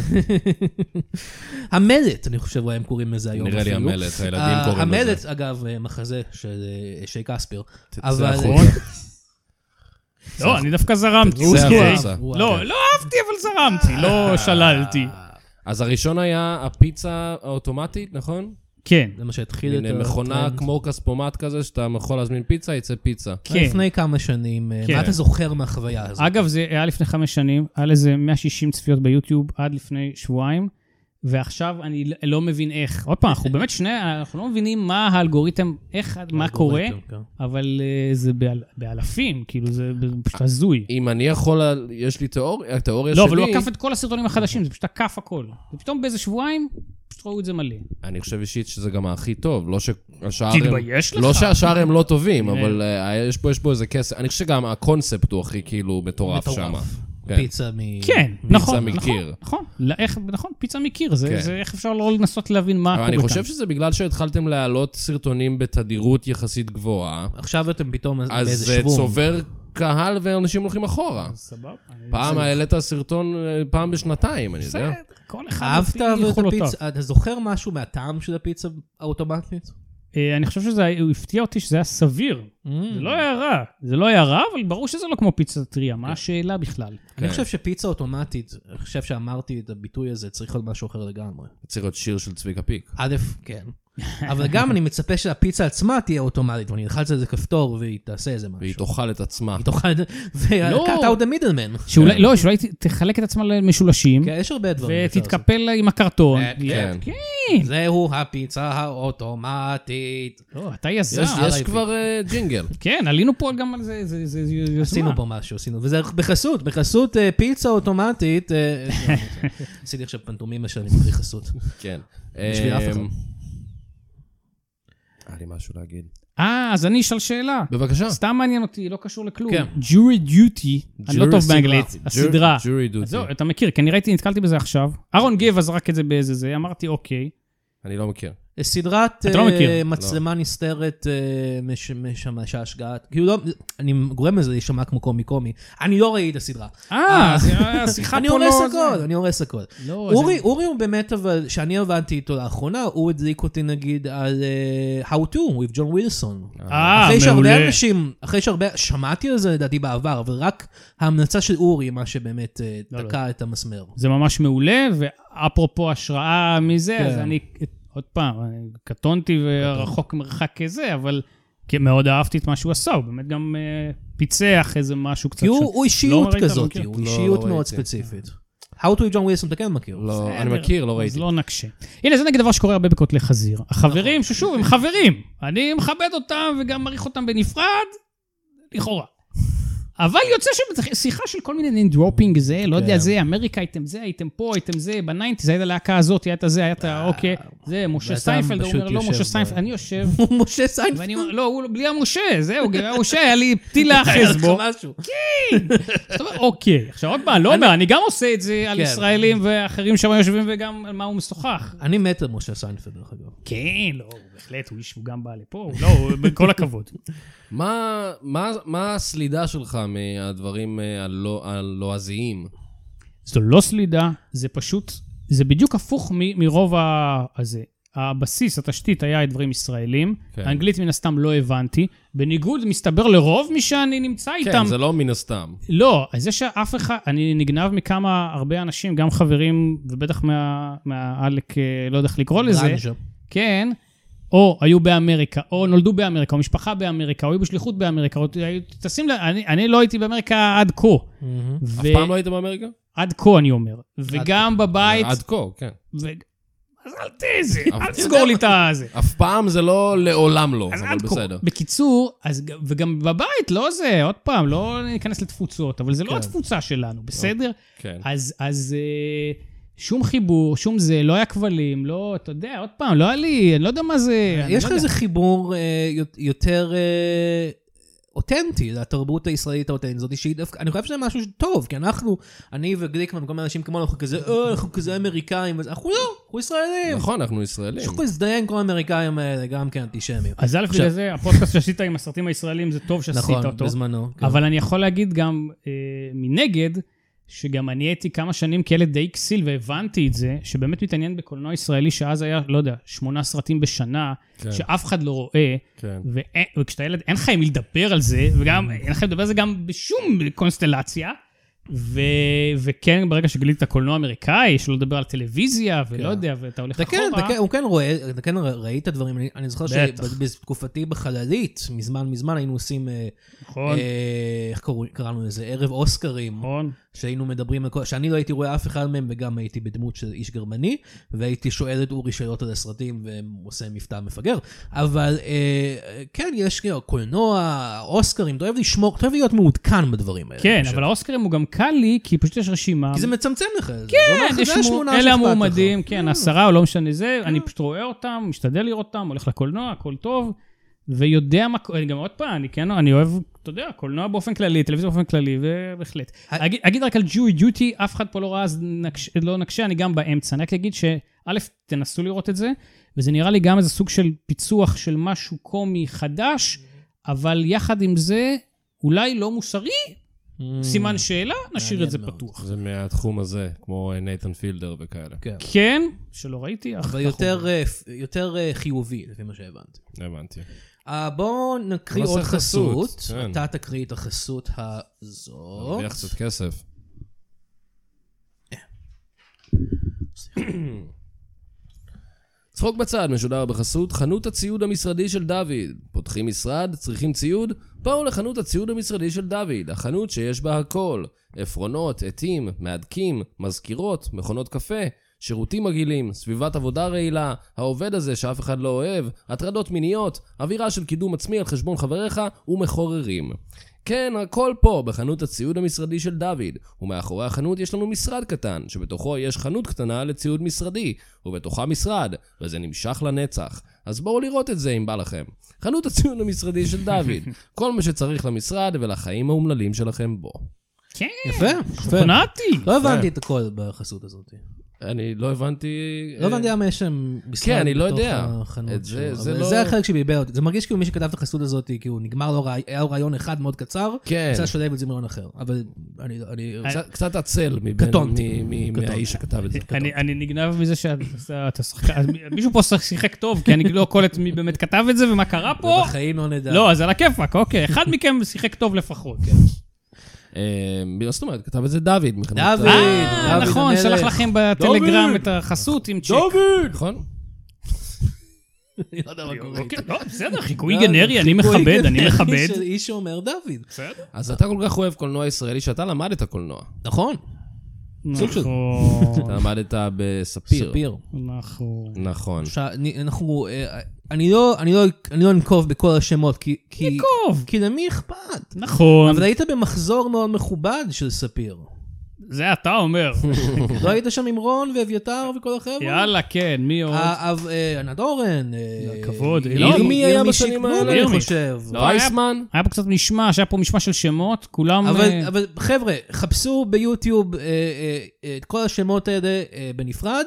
Speaker 3: המלט, אני חושב, הם קוראים לזה היום.
Speaker 2: נראה לי
Speaker 3: אפילו.
Speaker 2: המלט,
Speaker 3: ה-
Speaker 2: הילדים קוראים לזה.
Speaker 3: המלט, אגב, אה, מחזה של אה, שי כספיר.
Speaker 2: תצא
Speaker 3: אבל- אה,
Speaker 2: החוצה.
Speaker 4: לא, אני דווקא זרמתי.
Speaker 2: זה
Speaker 4: הוא-
Speaker 2: החוצה.
Speaker 3: וואו.
Speaker 4: לא, לא אהבתי, אבל זרמתי,
Speaker 3: אה.
Speaker 4: לא שללתי.
Speaker 2: אז הראשון היה הפיצה האוטומטית, נכון?
Speaker 4: כן,
Speaker 3: [LAUGHS] זה מה שהתחיל את כן.
Speaker 2: הנה, מכונה
Speaker 3: הטרנד.
Speaker 2: כמו כספומט כזה, שאתה יכול להזמין פיצה, יצא פיצה.
Speaker 4: כן.
Speaker 3: לפני כמה שנים, אה,
Speaker 4: כן.
Speaker 3: מה אתה זוכר מהחוויה הזאת?
Speaker 4: אגב, זה היה לפני חמש שנים, היה לזה 160 צפיות ביוטיוב עד לפני שבועיים, ועכשיו אני לא- לא מבין איך. עוד פעם,
Speaker 2: [LAUGHS]
Speaker 4: אנחנו באמת שני, אנחנו לא מבינים מה האלגוריתם, איך, מה קורה,
Speaker 3: האלגוריתם, כן.
Speaker 4: אבל אה, זה באל- באלפים, כאילו, זה פשוט הזוי.
Speaker 2: אם אני יכול, ל- יש לי תיאוריה, התיאוריה אה, שלי...
Speaker 4: לא, אבל הוא עקף את כל הסרטונים החדשים, זה פשוט עקף הכל. ופתאום באיזה שבועיים, פשוט ראו את זה מלא.
Speaker 2: אני חושב אישית שזה גם הכי טוב, לא שהשאר הם...
Speaker 4: תתבייש
Speaker 2: לא
Speaker 4: לך.
Speaker 2: שהשאר הם לא טובים,
Speaker 4: כן.
Speaker 2: אבל אה, יש פה- יש פה איזה כסף. אני חושב שגם הקונספט הוא הכי כאילו מטורף
Speaker 3: מטורף.
Speaker 2: שם.
Speaker 3: פיצה מ...
Speaker 4: כן, נכון, נכון,
Speaker 2: מקיר.
Speaker 4: נכון, לא, איך- נכון, פיצה מקיר, זה
Speaker 2: כן.
Speaker 4: זה איך אפשר לא לנסות להבין מה
Speaker 2: אבל
Speaker 4: קורה כאן.
Speaker 2: אני חושב שזה בגלל שהתחלתם להעלות סרטונים בתדירות יחסית גבוהה,
Speaker 3: עכשיו אתם פתאום
Speaker 2: אז
Speaker 3: באיזה
Speaker 2: זה
Speaker 3: שוום.
Speaker 2: צובר קהל ואנשים הולכים אחורה.
Speaker 4: סבבה. אני-
Speaker 2: פעם לא? העלית סרטון אה, פעם בשנתיים, אני יודע.
Speaker 4: בסדר, כל אחד
Speaker 3: אהבת
Speaker 4: לפי
Speaker 3: אבל את
Speaker 4: יכולותיו.
Speaker 3: הפיצה, אתה זוכר משהו מהטעם של הפיצה האוטומטית?
Speaker 4: אה, אני חושב שזה, היה- הוא הפתיע אותי שזה היה סביר. זה
Speaker 2: Mm.
Speaker 4: לא היה רע. זה לא היה רע, אבל ברור שזה לא כמו פיצה טריה, מה השאלה בכלל?
Speaker 3: אני
Speaker 2: כן.
Speaker 3: חושב שפיצה אוטומטית, אני חושב שאמרתי את הביטוי הזה, צריך להיות משהו אחר לגמרי.
Speaker 2: צריך להיות שיר של צביקה פיק.
Speaker 3: א', כן. אבל גם אני מצפה שהפיצה עצמה תהיה אוטומטית, ואני אלחץ על איזה כפתור והיא תעשה איזה משהו.
Speaker 2: והיא תאכל את עצמה.
Speaker 3: היא תאכל... וקאט אאוט המידלמן.
Speaker 4: שאולי, לא, שאולי ת- תחלק את עצמה למשולשים,
Speaker 3: כן. יש הרבה דברים. שאפשר לעשות.
Speaker 4: ותתקפל עם הקרטון.
Speaker 3: אה,
Speaker 2: כן.
Speaker 4: כן.
Speaker 3: זהו הפיצה האוטומטית.
Speaker 4: לא, אתה יזם.
Speaker 2: יש יש
Speaker 3: עליי
Speaker 2: כבר אה,
Speaker 3: [LAUGHS]
Speaker 2: ג'ינגל.
Speaker 4: כן, עלינו פה גם על זה, זה זה- זה יוזמה.
Speaker 3: עשינו פה משהו, עשינו, וזה בחסות, בחסות אה, פיצה אוטומטית. אה, לא, זה- עשיתי עכשיו פנטומימה שאני מקריא חסות.
Speaker 2: כן.
Speaker 3: בשביל אף אחד.
Speaker 2: אמ, היה לי משהו להגיד.
Speaker 4: אה, אז אני אשאל שאלה.
Speaker 2: בבקשה.
Speaker 4: סתם מעניין אותי, לא קשור לכלום.
Speaker 3: כן.
Speaker 4: ג'ורי דיוטי, אני לא
Speaker 2: Jury
Speaker 4: טוב
Speaker 2: סדרה.
Speaker 4: באנגלית,
Speaker 2: Jury-
Speaker 4: הסדרה.
Speaker 2: Jury כן. duty.
Speaker 4: אז זהו, אתה מכיר, כי אני ראיתי, נתקלתי בזה עכשיו. אהרון גבע זרק את זה באיזה זה, אמרתי, אוקיי.
Speaker 2: אני לא מכיר.
Speaker 3: סדרת
Speaker 4: אתה לא
Speaker 3: אה,
Speaker 4: מכיר.
Speaker 3: מצלמה נסתרת אה, מש- מש- משעשעת. כאילו לא, אני גורם לזה להישמע כמו קומי קומי. אני לא ראיתי את הסדרה.
Speaker 4: אה, אז השיחה
Speaker 3: אני
Speaker 4: פה
Speaker 3: הורס
Speaker 4: לא...
Speaker 3: הכל, אני הורס הכל.
Speaker 4: לא, זה-
Speaker 3: אורי, אורי הוא באמת, אבל, שאני עבדתי איתו לאחרונה, הוא הדליק אותי נגיד על אה, How to with John Wilson.
Speaker 4: אה,
Speaker 3: אחרי שהרבה
Speaker 4: מעולה.
Speaker 3: אנשים, אחרי שהרבה, שמעתי על זה לדעתי בעבר, אבל רק ההמלצה של אורי, מה שבאמת אה,
Speaker 4: לא, לא.
Speaker 3: תקע את המסמר.
Speaker 4: זה ממש מעולה, ואפרופו השראה מזה, אז
Speaker 3: כן.
Speaker 4: אני, עוד פעם, אני קטונתי ורחוק מרחק כזה, אבל כי מאוד אהבתי את מה שהוא עשה, הוא באמת גם אה, פיצח איזה משהו קצת...
Speaker 3: כי הוא
Speaker 4: ש-
Speaker 3: הוא אישיות
Speaker 4: ראית,
Speaker 3: כזאת,
Speaker 4: מכיר?
Speaker 3: הוא
Speaker 2: לא,
Speaker 3: אישיות
Speaker 2: לא
Speaker 3: מאוד
Speaker 2: ראיתי.
Speaker 3: ספציפית. How to John Wilson אתה כן מכיר.
Speaker 2: לא,
Speaker 4: בסדר,
Speaker 2: אני מכיר, לא ראיתי.
Speaker 4: אז לא נקשה. הנה, זה נגיד דבר שקורה הרבה בכותלי חזיר. החברים,
Speaker 3: נכון.
Speaker 4: ששוב, הם חברים. אני מכבד אותם וגם מעריך אותם בנפרד, לכאורה. אבל יוצא שבשיחה של כל מיני נין דרופינג זה, לא יודע,
Speaker 3: כן.
Speaker 4: זה, אמריקה הייתם זה, הייתם פה, הייתם זה, בניינטיז, הייתה להקה הזאת, הייתה זה, הייתה אוקיי, זה, משה
Speaker 3: אה, ואתה
Speaker 4: סטיינפלד, הוא
Speaker 3: פשוט
Speaker 4: אומר, לא,
Speaker 3: יושב
Speaker 4: משה
Speaker 3: ב-
Speaker 4: סטיינפלד, אני יושב,
Speaker 3: הוא [LAUGHS] משה סיינפלד. [LAUGHS]
Speaker 4: ואני אומר, לא, הוא בלי המשה, זהו, גם המשה, היה לי טיל להאחז
Speaker 3: [LAUGHS]
Speaker 4: בו.
Speaker 3: משהו.
Speaker 4: זאת אומרת, אוקיי, עכשיו עוד פעם, לא אומר, אני גם עושה את זה על
Speaker 3: כן.
Speaker 4: ישראלים ואחרים שם יושבים וגם על מה הוא משוחח.
Speaker 3: אני מת על משה סיינפלד, דרך אגב.
Speaker 4: כן, לא, הוא בהחלט, הוא איש, הוא גם בא לפה, הוא לא, הוא- בכל הכבוד.
Speaker 2: מה, מה, מה הסלידה שלך מהדברים אה, הלא- הלועזיים?
Speaker 4: [LAUGHS] זו לא סלידה, זה פשוט, זה בדיוק הפוך מ- מרוב ה... הזה. הבסיס, התשתית, היה דברים ישראלים.
Speaker 2: כן.
Speaker 4: האנגלית מן הסתם לא הבנתי. בניגוד, מסתבר, לרוב מי שאני נמצא איתם.
Speaker 2: כן, זה לא מן הסתם.
Speaker 4: לא, זה שאף אחד, אני נגנב מכמה, הרבה אנשים, גם חברים, ובטח מה- מהעלק, אה, לא יודע איך לקרוא לזה.
Speaker 3: גרנג'ה.
Speaker 4: כן, או היו באמריקה, או נולדו באמריקה, או משפחה באמריקה, או היו בשליחות באמריקה, או היו טסים, ל- אני, אני לא הייתי באמריקה עד כה. ו...
Speaker 2: אף פעם לא היית באמריקה?
Speaker 4: עד כה, אני אומר. וגם בבית...
Speaker 2: עד כה, כן.
Speaker 4: ו... אז אל תזה,
Speaker 2: אבל-
Speaker 4: אל תסגור לי את הזה.
Speaker 2: אף פעם זה לא לעולם לא,
Speaker 4: אז
Speaker 2: אבל
Speaker 4: עד כה.
Speaker 2: בסדר.
Speaker 4: בקיצור, אז, ג- וגם בבית, לא זה, עוד פעם, לא ניכנס לתפוצות, אבל זה לא
Speaker 3: כן.
Speaker 4: התפוצה שלנו, בסדר?
Speaker 2: כן.
Speaker 4: אז, אז אה, שום חיבור, שום זה, לא היה כבלים, לא, אתה יודע, עוד פעם, לא היה לי, אני לא יודע מה זה... אני
Speaker 3: יש
Speaker 4: לא
Speaker 3: לך
Speaker 4: יודע.
Speaker 3: איזה חיבור אה, יות- יותר אה, אותנטי לתרבות הישראלית האותנטית הזאת, שהיא דווקא, אני חושב שזה משהו טוב, כי אנחנו, אני וגליקמן וכל מיני אנשים כמונו, אנחנו כזה, "אה, אנחנו כזה אמריקאים, אז אנחנו לא, אנחנו ישראלים.
Speaker 2: נכון, אנחנו ישראלים.
Speaker 3: צריך להזדיין עם כל האמריקאים האלה, גם כן אנטישמים.
Speaker 4: לא. אז א', בגלל
Speaker 3: עכשיו-
Speaker 4: זה הפודקאסט שעשית עם הסרטים הישראלים, זה טוב שעשית
Speaker 3: נכון,
Speaker 4: אותו.
Speaker 3: בזמנו. כן.
Speaker 4: אבל אני יכול להגיד גם אה, מנגד, שגם אני הייתי כמה שנים כילד די כסיל והבנתי את זה, שבאמת מתעניין בקולנוע ישראלי, שאז היה, לא יודע, שמונה סרטים בשנה,
Speaker 2: כן.
Speaker 4: שאף אחד לא רואה,
Speaker 2: כן.
Speaker 4: ואין- וכשאתה ילד, אין לך עם מי לדבר על זה, וגם אין לך עם מי לדבר על זה גם בשום קונסטלציה. ו... וכן, ברגע שגילית את הקולנוע האמריקאי, שלא לדבר על טלוויזיה, ולא
Speaker 3: כן.
Speaker 4: יודע, ואתה הולך
Speaker 3: אתה כן,
Speaker 4: אחורה.
Speaker 3: אתה כן, הוא כן רואה, אתה כן ר- ראית דברים, אני- אני זוכר
Speaker 4: נכון, אה? בטח.
Speaker 3: שבתקופתי בחללית, מזמן מזמן היינו עושים, אה,
Speaker 4: נכון,
Speaker 3: אה, איך קראו- קראנו לזה, ערב אוסקרים.
Speaker 4: נכון.
Speaker 3: שהיינו מדברים על כל... שאני לא הייתי רואה אף אחד מהם, וגם הייתי בדמות של איש גרמני, והייתי שואל את אורי שאלות על הסרטים, ועושה מבטא מפגר. אבל אה, כן, יש כאילו, קולנוע, אוסקרים, אתה אוהב לשמור, אתה אוהב להיות מעודכן בדברים האלה.
Speaker 4: כן,
Speaker 3: אני חושב.
Speaker 4: אבל האוסקרים הוא גם קל לי, כי פשוט יש רשימה.
Speaker 3: אוקיי, כי זה מצמצם לך את זה. זה אומר
Speaker 4: כן,
Speaker 3: לך,
Speaker 4: יש
Speaker 3: זה
Speaker 4: מו-
Speaker 3: השמונה
Speaker 4: אלה
Speaker 3: שאכפת לך.
Speaker 4: המועמדים,
Speaker 3: Mm.
Speaker 4: כן, עשרה או לא משנה זה, אני פשוט רואה אותם, משתדל לראות אותם, הולך לקולנוע, הכל טוב, ויודע מה... אני גם עוד פעם, אני כן, אני אוהב, אתה יודע, קולנוע באופן כללי, טלוויזיה באופן כללי, ובהחלט.
Speaker 3: ה-
Speaker 4: אגיד- אגיד רק על ג'וי דיוטי, אף אחד פה לא ראה, אז נקש- לא נקשה, אני גם באמצע. אני רק אגיד שא', תנסו לראות את זה, וזה נראה לי גם איזה סוג של פיצוח של משהו קומי חדש, אבל יחד עם זה, אולי לא מוסרי,
Speaker 3: Mm.
Speaker 4: סימן שאלה, נשאיר
Speaker 3: מעניין
Speaker 4: את זה
Speaker 3: מאוד.
Speaker 4: פתוח.
Speaker 2: זה מהתחום הזה, כמו אה, נייתן פילדר וכאלה.
Speaker 3: כן.
Speaker 4: כן, שלא ראיתי, אך
Speaker 3: אבל
Speaker 2: נכון.
Speaker 3: יותר, אה, פ- יותר אה, חיובי, לפי מה שהבנתי.
Speaker 2: הבנתי.
Speaker 3: אה, בואו נקריא
Speaker 2: נעשה
Speaker 3: עוד
Speaker 2: חסות,
Speaker 3: חסות.
Speaker 2: כן.
Speaker 3: אתה תקריא את החסות הזאת.
Speaker 2: נרוויח קצת כסף. צחוק בצד משודר בחסות חנות הציוד המשרדי של דוד. פותחים משרד, צריכים ציוד? בואו לחנות הציוד המשרדי של דוד, החנות שיש בה הכל. עפרונות, עטים, מהדקים, מזכירות, מכונות קפה, שירותים מגעילים, סביבת עבודה רעילה, העובד הזה שאף אחד לא אוהב, הטרדות מיניות, אווירה של קידום עצמי על חשבון חבריך ומחוררים. כן, הכל פה, בחנות הציוד המשרדי של דוד. ומאחורי החנות יש לנו משרד קטן, שבתוכו יש חנות קטנה לציוד משרדי, ובתוכה משרד, וזה נמשך לנצח. אז בואו לראות את זה אם בא לכם. חנות הציוד המשרדי של
Speaker 3: [LAUGHS]
Speaker 2: דוד. כל מה שצריך למשרד ולחיים האומללים שלכם בו.
Speaker 4: כן,
Speaker 3: יפה, יפה.
Speaker 4: שוכנעתי.
Speaker 3: אה, לא הבנתי את הכל בחסות הזאת.
Speaker 2: אני לא הבנתי...
Speaker 3: לא הבנתי למה יש שם משחק
Speaker 2: כן, אני לא
Speaker 3: בתוך
Speaker 2: יודע. את
Speaker 3: החנות
Speaker 2: זה-
Speaker 3: שלו.
Speaker 2: זה
Speaker 3: אבל
Speaker 2: לא-
Speaker 3: זה החלק שביבר אותי. זה מרגיש כאילו מי שכתב את החסות הזאת, כאילו נגמר לו, רעי- היה לו רעיון אחד מאוד קצר,
Speaker 2: כן.
Speaker 3: רצה לשלב את זה מרעיון אחר. אבל אני... אני-
Speaker 4: אה,
Speaker 2: קצת- קצת עצל מבין...
Speaker 3: קטונתי.
Speaker 2: מ- מ-
Speaker 3: קטונתי.
Speaker 2: מהאיש שכתב את זה.
Speaker 4: אני, אני נגנב מזה שאתה אתה שחקן, אז מישהו פה שח- שיחק טוב, כי אני לא קולט מי באמת כתב את זה ומה קרה פה.
Speaker 3: בחיים לא נדע.
Speaker 4: לא, אז על הכיפאק, אוקיי. אחד מכם שיחק טוב לפחות.
Speaker 3: כן,
Speaker 2: אה, מה זאת אומרת? כתב את זה דוד. מחנות-
Speaker 3: דוד.
Speaker 4: אה,
Speaker 3: דוד
Speaker 4: נכון,
Speaker 3: המלך.
Speaker 4: שלח לכם בטלגרם
Speaker 2: דוד.
Speaker 4: את החסות עם צ'ק.
Speaker 2: דוד! נכון?
Speaker 3: אני לא יודע מה קורה.
Speaker 4: אוקיי,
Speaker 3: איתו.
Speaker 4: לא, בסדר, חיקוי
Speaker 3: לא,
Speaker 4: גנרי,
Speaker 3: חיקוי
Speaker 4: אני
Speaker 3: [LAUGHS]
Speaker 4: מכבד, אני
Speaker 3: גנרי של
Speaker 4: מכבד.
Speaker 3: איש שאומר דוד.
Speaker 4: בסדר.
Speaker 2: אז אתה כל כך אוהב קולנוע ישראלי שאתה למדת קולנוע.
Speaker 3: נכון, סוג של-
Speaker 4: נכון,
Speaker 2: אתה למדת בספיר.
Speaker 3: ספיר.
Speaker 4: נכון.
Speaker 2: נכון.
Speaker 3: עכשיו, אני- אנחנו... אה, אני לא, אני לא, אני לא אנקוב בכל השמות, כי... כי-
Speaker 4: ניקוב.
Speaker 3: כי למי אכפת?
Speaker 4: נכון.
Speaker 3: אבל היית במחזור מאוד מכובד של
Speaker 4: [LAUGHS]
Speaker 3: ספיר.
Speaker 4: זה אתה אומר.
Speaker 3: [LAUGHS] לא היית שם עם רון ואביתר וכל החבר'ה?
Speaker 4: יאללה, כן, מי עוד?
Speaker 3: אה, אב- אה, ענת אורן. אה,
Speaker 4: הכבוד,
Speaker 3: ירמי-
Speaker 4: לא,
Speaker 2: מי היה
Speaker 3: ירמי
Speaker 2: בשנים
Speaker 3: שקנון,
Speaker 2: האלה?
Speaker 3: אני
Speaker 4: ירמי.
Speaker 3: חושב.
Speaker 4: לא, היה-
Speaker 2: וייסמן?
Speaker 4: היה פה קצת משמע, שהיה פה משמע של שמות, כולם...
Speaker 3: אבל,
Speaker 4: אה,
Speaker 3: אבל חבר'ה, חפשו ביוטיוב אה, אה, אה, את כל השמות האלה אה, בנפרד,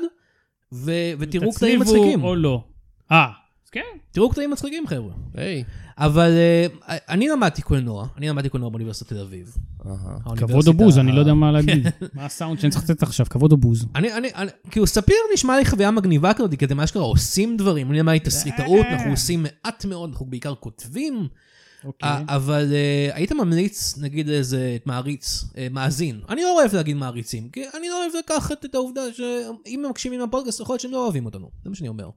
Speaker 3: ו- ותראו קטעים
Speaker 4: תצליבו
Speaker 3: מצחיקים.
Speaker 4: או לא. אה, כן.
Speaker 3: תראו קטעים מצחיקים, חבר'ה.
Speaker 2: היי.
Speaker 3: אבל אה, אני למדתי קולנוע, אני למדתי קולנוע באוניברסיטת תל אביב.
Speaker 2: אהה.
Speaker 4: כבוד או בוז, אני לא יודע מה להגיד. מה הסאונד שאני צריך לתת עכשיו, כבוד או בוז.
Speaker 3: אני, אני, אני, כאילו, ספיר נשמע לי חוויה מגניבה כזאת, כי אתם אשכרה עושים דברים, אני למדתי תסריטאות, אנחנו עושים מעט מאוד, אנחנו בעיקר כותבים,
Speaker 4: אוקיי.
Speaker 3: אה, אבל אה, היית ממליץ, נגיד איזה מעריץ, אה, מאזין. אני לא אוהב להגיד מעריצים, כי אני לא אוהב לקחת את העובדה שאם הם מקשיבים לפודקאסט, יכול להיות שהם לא אוהבים אותנו. זה מה שאני אומר.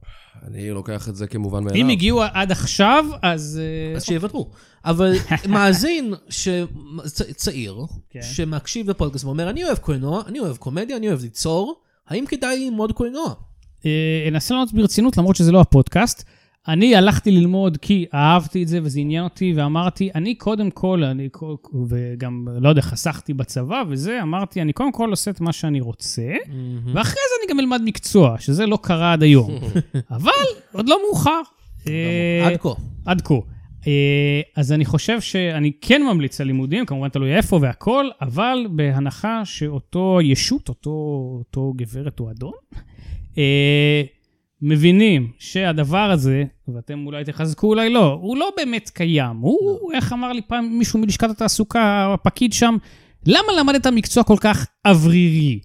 Speaker 2: אני לוקח את זה כמובן מאליו.
Speaker 4: אם
Speaker 3: אה.
Speaker 4: הגיעו עד עכשיו, אז... אה,
Speaker 3: אז שיוותרו.
Speaker 4: [LAUGHS]
Speaker 3: אבל מאזין ש- צ- צעיר,
Speaker 4: כן.
Speaker 3: שמקשיב לפודקאסט ואומר, אני אוהב קולנוע, אני אוהב קומדיה, אני אוהב ליצור, האם כדאי ללמוד קולנוע?
Speaker 4: אה, אנסה לענות ברצינות, למרות שזה לא הפודקאסט. אני הלכתי ללמוד כי אהבתי את זה וזה עניין אותי, ואמרתי, אני קודם כל, אני, כל- וגם, לא יודע, חסכתי בצבא וזה, אמרתי, אני קודם כל עושה את מה שאני רוצה, [LAUGHS] ואחרי זה אני גם אלמד מקצוע, שזה לא קרה עד היום. אבל עוד לא מאוחר. אה,
Speaker 3: עד כה.
Speaker 4: עד כה. אה, אז אני חושב שאני כן ממליץ על לימודים, כמובן תלוי איפה והכל, אבל בהנחה שאותו ישות, אותו, אותו גברת או אדון, אה, מבינים שהדבר הזה, ואתם אולי תחזקו, אולי לא, הוא לא באמת קיים. הוא, איך אמר לי פעם מישהו מלשכת התעסוקה, הפקיד שם, למה למדת מקצוע כל כך אוורירי?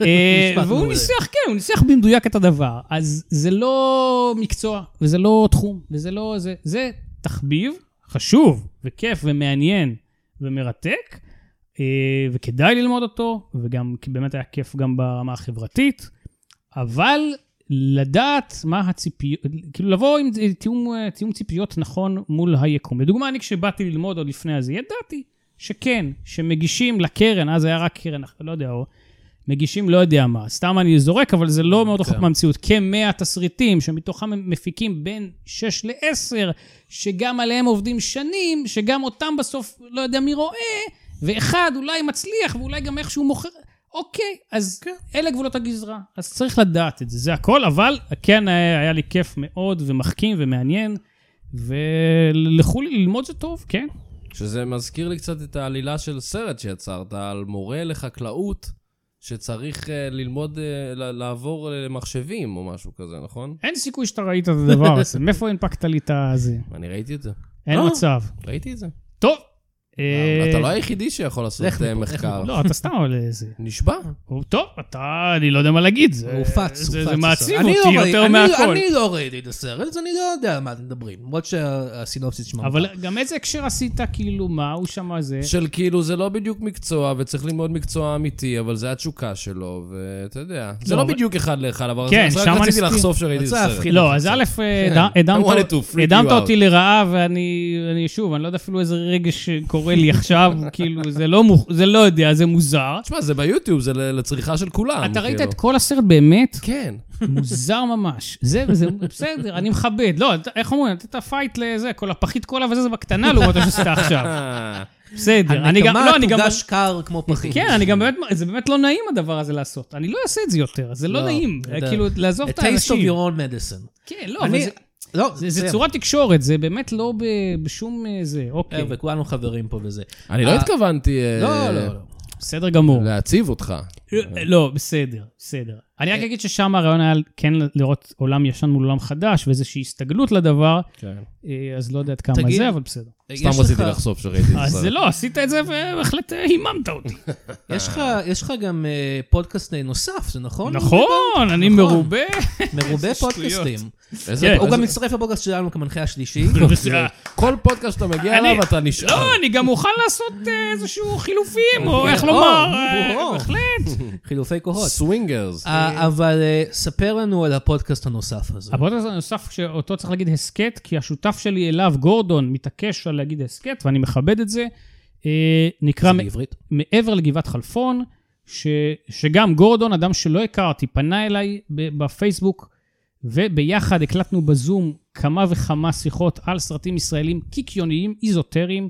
Speaker 4: אה,
Speaker 3: משפט
Speaker 4: והוא
Speaker 3: מעולה.
Speaker 4: ניסח, כן, הוא ניסח במדויק את הדבר. אז זה לא מקצוע, וזה לא תחום, וזה לא... זה, זה תחביב חשוב, וכיף, ומעניין, ומרתק, אה, וכדאי ללמוד אותו, וגם כי באמת היה כיף גם ברמה החברתית, אבל לדעת מה הציפיות, כאילו לבוא עם תיאום, אה, תיאום ציפיות נכון מול היקום. לדוגמה, אני כשבאתי ללמוד עוד לפני הזה, ידעתי שכן, שמגישים לקרן, אז היה רק קרן, לא יודע, או מגישים לא יודע מה, סתם אני זורק, אבל זה לא מאוד רחוק
Speaker 3: כן.
Speaker 4: מהמציאות. כ-100 תסריטים, שמתוכם הם מפיקים בין 6 ל-10, שגם עליהם עובדים שנים, שגם אותם בסוף לא יודע מי רואה, ואחד אולי מצליח, ואולי גם איכשהו מוכר. אוקיי, אז כן. אלה גבולות הגזרה. אז צריך לדעת את זה, זה הכל, אבל כן, היה היה לי כיף מאוד, ומחכים ומעניין, ולכו לי ללמוד זה טוב, כן.
Speaker 2: שזה מזכיר לי קצת את העלילה של סרט שיצרת, על מורה לחקלאות שצריך אה, ללמוד, אה, ל- לעבור למחשבים או משהו כזה, נכון?
Speaker 4: אין סיכוי שאתה ראית את הדבר הזה, מאיפה הנפקת לי את הזה?
Speaker 2: אני ראיתי את זה.
Speaker 4: אין
Speaker 3: אה.
Speaker 4: מצב.
Speaker 2: ראיתי את זה.
Speaker 4: טוב. אה,
Speaker 2: אתה לא היחידי שיכול לעשות
Speaker 3: לך
Speaker 2: אה,
Speaker 3: מפה, לך
Speaker 2: מחקר.
Speaker 4: לא, אתה סתם על איזה.
Speaker 2: נשבע.
Speaker 4: טוב, אתה, אני לא יודע מה להגיד. זה-
Speaker 3: הוא הופץ,
Speaker 4: זה-
Speaker 3: הופץ.
Speaker 4: זה מעציב
Speaker 3: אני
Speaker 4: אותי
Speaker 3: לא ראיתי-
Speaker 4: יותר
Speaker 3: אני-
Speaker 4: מהכל.
Speaker 3: אני לא ראיתי את הסרט, אז אני לא יודע על מה אתם מדברים. למרות שהסינופסיס שמע.
Speaker 4: אבל גם איזה הקשר עשית, כאילו, מה הוא שם זה?
Speaker 2: של כאילו, זה לא בדיוק מקצוע, וצריך ללמוד מקצוע אמיתי, אבל זה התשוקה שלו, ואתה יודע. זה
Speaker 4: לא,
Speaker 2: לא
Speaker 4: אבל-
Speaker 2: בדיוק אחד לאחד, אבל
Speaker 4: כן,
Speaker 2: אז רק
Speaker 4: שם אני
Speaker 2: רציתי
Speaker 4: מסכים.
Speaker 2: לחשוף שראיתי את
Speaker 3: רצה
Speaker 2: הסרט.
Speaker 3: להפחיד.
Speaker 4: לא, אז א', אה,
Speaker 2: כן.
Speaker 4: דם- הדמת-
Speaker 2: I wanted to freak you
Speaker 4: הדמת
Speaker 2: out.
Speaker 4: אותי לרעה, ואני, אני- שוב, אני לא יודע אפילו איזה רגש קורה לי עכשיו, [LAUGHS] כאילו, זה לא מוכ- זה לא יודע, זה מוזר.
Speaker 2: תשמע, זה ביוטיוב, זה ל- לצריכה של כולם.
Speaker 4: אתה ראית
Speaker 2: כאילו.
Speaker 4: את כל הסרט באמת?
Speaker 2: כן.
Speaker 4: מוזר ממש. זה, זה בסדר, אני מכבד. לא, אתה- איך אומרים, נתת פייט לזה, כל הפחית קולה וזה, זה בקטנה לעומת מה שעשית עכשיו.
Speaker 3: [LAUGHS]
Speaker 2: אה,
Speaker 4: בסדר. אני גם,
Speaker 3: הנקמה
Speaker 4: לא, אני גם...
Speaker 3: תוגש קר כמו פחית.
Speaker 4: כן, אני גם באמת, זה באמת לא נעים הדבר הזה לעשות. אני לא אעשה את זה יותר, זה לא
Speaker 3: לא,
Speaker 4: נעים.
Speaker 3: אתה-
Speaker 4: כאילו, לעזוב
Speaker 3: A
Speaker 4: את
Speaker 3: taste of
Speaker 4: האנשים.
Speaker 3: your own medicine.
Speaker 4: כן, לא, אבל
Speaker 3: אני-
Speaker 4: זה...
Speaker 3: לא,
Speaker 4: זה, זה
Speaker 3: בסדר.
Speaker 4: צורת תקשורת, זה באמת לא ב, בשום אה, זה, אוקיי.
Speaker 3: אה, וכולנו חברים פה וזה.
Speaker 2: אני לא
Speaker 3: אה,
Speaker 2: התכוונתי אה,
Speaker 3: לא, לא, לא.
Speaker 4: בסדר גמור.
Speaker 2: להציב אותך.
Speaker 4: אה, לא, בסדר, בסדר. אני
Speaker 3: אה.
Speaker 4: רק אגיד ששם הרעיון היה כן לראות עולם ישן מול עולם חדש, ואיזושהי הסתגלות לדבר,
Speaker 2: כן.
Speaker 4: אה, אז לא יודע עד כמה
Speaker 3: תגיד-
Speaker 4: זה, אבל בסדר.
Speaker 2: סתם
Speaker 3: יש
Speaker 2: רציתי
Speaker 3: לך- אה,
Speaker 2: לחשוף שראיתי את
Speaker 4: אז
Speaker 2: הסרט.
Speaker 4: זה לא, עשית את זה ובהחלט אה, היממת
Speaker 3: [LAUGHS]
Speaker 4: אותי.
Speaker 3: יש לך- יש לך גם אה, פודקאסט אה, נוסף, זה נכון?
Speaker 4: נכון, אני
Speaker 3: נכון.
Speaker 4: מרובה.
Speaker 3: [LAUGHS] מרובה פודקאסטים.
Speaker 4: [LAUGHS]
Speaker 2: איזה-
Speaker 4: כן.
Speaker 3: הוא
Speaker 2: איזה-
Speaker 3: גם מצטרף לפודקאסט שלנו כמנחה
Speaker 4: [LAUGHS]
Speaker 3: השלישי.
Speaker 4: בסדר.
Speaker 2: כל פודקאסט שאתה מגיע
Speaker 4: לא, אני-
Speaker 2: אליו, אתה נשאר.
Speaker 4: לא, אני גם מוכן לעשות אה, איזשהו חילופים, או איך
Speaker 3: אוקיי. או,
Speaker 4: לומר,
Speaker 3: או,
Speaker 4: אה,
Speaker 3: או. [LAUGHS]
Speaker 4: בהחלט.
Speaker 3: חילופי כוחות.
Speaker 2: סווינגרס.
Speaker 3: אה, אבל אה, ספר לנו על הפודקאסט הנוסף הזה.
Speaker 4: הפודקאסט הנוסף שאותו צריך להגיד הסכת, כי השותף שלי אליו, גורדון, מתעקש על להגיד הסכת, ואני מכבד את זה. אה, נקרא
Speaker 3: זה
Speaker 4: מ- [LAUGHS]
Speaker 3: בעברית.
Speaker 4: מעבר לגבעת חלפון, ש, שגם גורדון, אדם שלא הכרתי, פנה אליי ב- בפייסבוק, וביחד הקלטנו בזום כמה וכמה שיחות על סרטים ישראלים קיקיוניים, איזוטריים,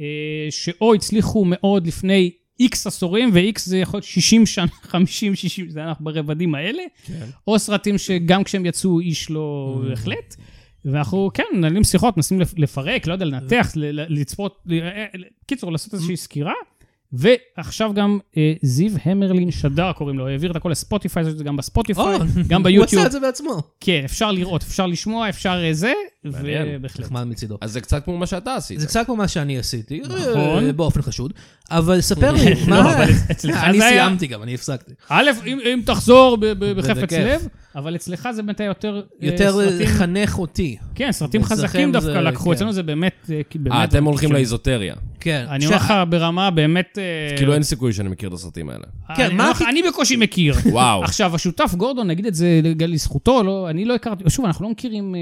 Speaker 4: אה, שאו הצליחו מאוד לפני איקס עשורים, ואיקס זה יכול להיות 60 שנה, [LAUGHS] 50, 60, זה אנחנו ברבדים האלה,
Speaker 2: כן.
Speaker 4: או סרטים שגם כשהם יצאו איש לא
Speaker 3: Mm.
Speaker 4: החלט. ואנחנו, כן, מנהלים שיחות, מנסים לפ- לפרק, לא יודע, לנתח, ל- ל- לצפות, ל- אה, קיצור,
Speaker 3: Mm.
Speaker 4: לעשות איזושהי סקירה. ועכשיו גם אה, זיו המרלין שדר, קוראים לו, העביר את הכל לספוטיפיי, זה גם בספוטיפיי,
Speaker 3: [LAUGHS]
Speaker 4: גם
Speaker 3: הוא
Speaker 4: ביוטיוב.
Speaker 3: עשה את זה בעצמו.
Speaker 4: כן, אפשר לראות, אפשר לשמוע, אפשר אה, זה,
Speaker 2: מעניין.
Speaker 4: ובהחלט.
Speaker 3: נחמד מצידו.
Speaker 2: אז זה קצת כמו מה שאתה עשית.
Speaker 3: זה קצת כמו מה שאני עשיתי,
Speaker 4: נכון.
Speaker 3: אה, באופן חשוד, אבל ספר לי, מה...
Speaker 4: [LAUGHS] לא, אבל
Speaker 3: [LAUGHS]
Speaker 4: אצלך
Speaker 3: אני
Speaker 4: זה היה- אה,
Speaker 3: סיימתי גם, אני הפסקתי.
Speaker 4: א', אם אם תחזור ב- ב- בחפץ
Speaker 3: בכיף.
Speaker 4: לב, אבל אצלך זה באמת היה יותר אה,
Speaker 3: יותר
Speaker 4: סרטים-
Speaker 3: לחנך אותי.
Speaker 4: כן, סרטים
Speaker 3: אצלכם
Speaker 4: חזקים
Speaker 3: זה-
Speaker 4: דווקא לקחו,
Speaker 3: כן.
Speaker 4: אצלנו זה באמת... אה, כי באמת-
Speaker 2: אה, אתם הולכים לאיזוטריה.
Speaker 3: לא כן.
Speaker 4: אני אומר
Speaker 3: שה-
Speaker 4: לך ברמה באמת... אה,
Speaker 2: כאילו אין סיכוי שאני מכיר את הסרטים האלה.
Speaker 4: אני
Speaker 3: כן,
Speaker 4: אומר
Speaker 3: מה
Speaker 4: לך,
Speaker 3: הכי-
Speaker 4: אני בקושי מכיר.
Speaker 2: וואו.
Speaker 4: עכשיו, השותף גורדון, נגיד את זה לגל- לזכותו, לא, אני לא הכרתי, שוב, אנחנו לא מכירים... אה,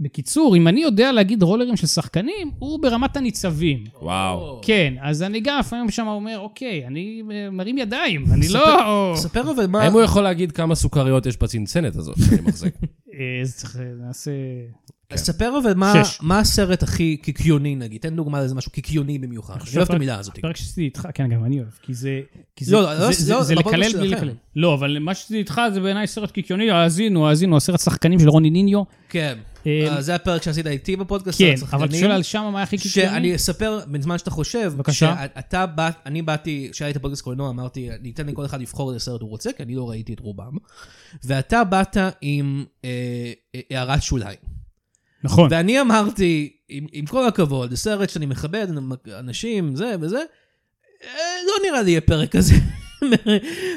Speaker 4: בקיצור, אם אני יודע להגיד רולרים של שחקנים, הוא ברמת הניצבים.
Speaker 2: וואו.
Speaker 4: כן, אז אני גם לפעמים שם אומר, אוקיי, אני אה, מרים ידיים, אני לא...
Speaker 3: ספר אבל מה...
Speaker 2: האם הוא יכול להגיד כמה סוכריות יש בצנצנת הזאת שאני
Speaker 3: [LAUGHS]
Speaker 2: מחזיק?
Speaker 4: אה, אז צריך, אה, נעשה...
Speaker 3: ספר אבל מה-
Speaker 4: שש.
Speaker 3: מה הסרט הכי קיקיוני נגיד, תן דוגמה לאיזה משהו קיקיוני במיוחד. אני אוהב את המילה הזאת.
Speaker 4: הפרק שעשיתי איתך, כן, גם אני אוהב, כי זה... כי זה-
Speaker 3: לא, לא,
Speaker 4: זה-
Speaker 3: לא,
Speaker 4: זה-
Speaker 3: לא,
Speaker 4: זה
Speaker 3: בפודקאסט
Speaker 4: לקלל בלי
Speaker 3: שלכם.
Speaker 4: לקלל. לא, אבל מה שעשיתי איתך זה בעיניי סרט קיקיוני, האזינו, האזינו, הסרט שחקנים של רוני ניניו.
Speaker 3: כן,
Speaker 4: אה,
Speaker 3: אה, זה הפרק שעשית איתי בפודקאסט
Speaker 4: כן,
Speaker 3: על השחקנים.
Speaker 4: אבל תשאל על שם מה הכי קיקיוני.
Speaker 3: שאני אספר, בזמן שאתה חושב,
Speaker 4: בבקשה.
Speaker 3: שאתה באת, אני באתי, כשהיה לי את הפודקאסט קולנוע, אמרתי, אני אתן לכל אחד לבחור איזה סרט הוא רוצה, כי אני לא ראיתי את רובם. ואתה באת עם אה, אה, הערת שוליים.
Speaker 4: נכון.
Speaker 3: ואני אמרתי, עם, עם כל הכבוד, זה סרט שאני מכבד, אנשים, זה וזה, אה, לא נראה לי יהיה פרק כזה. [LAUGHS]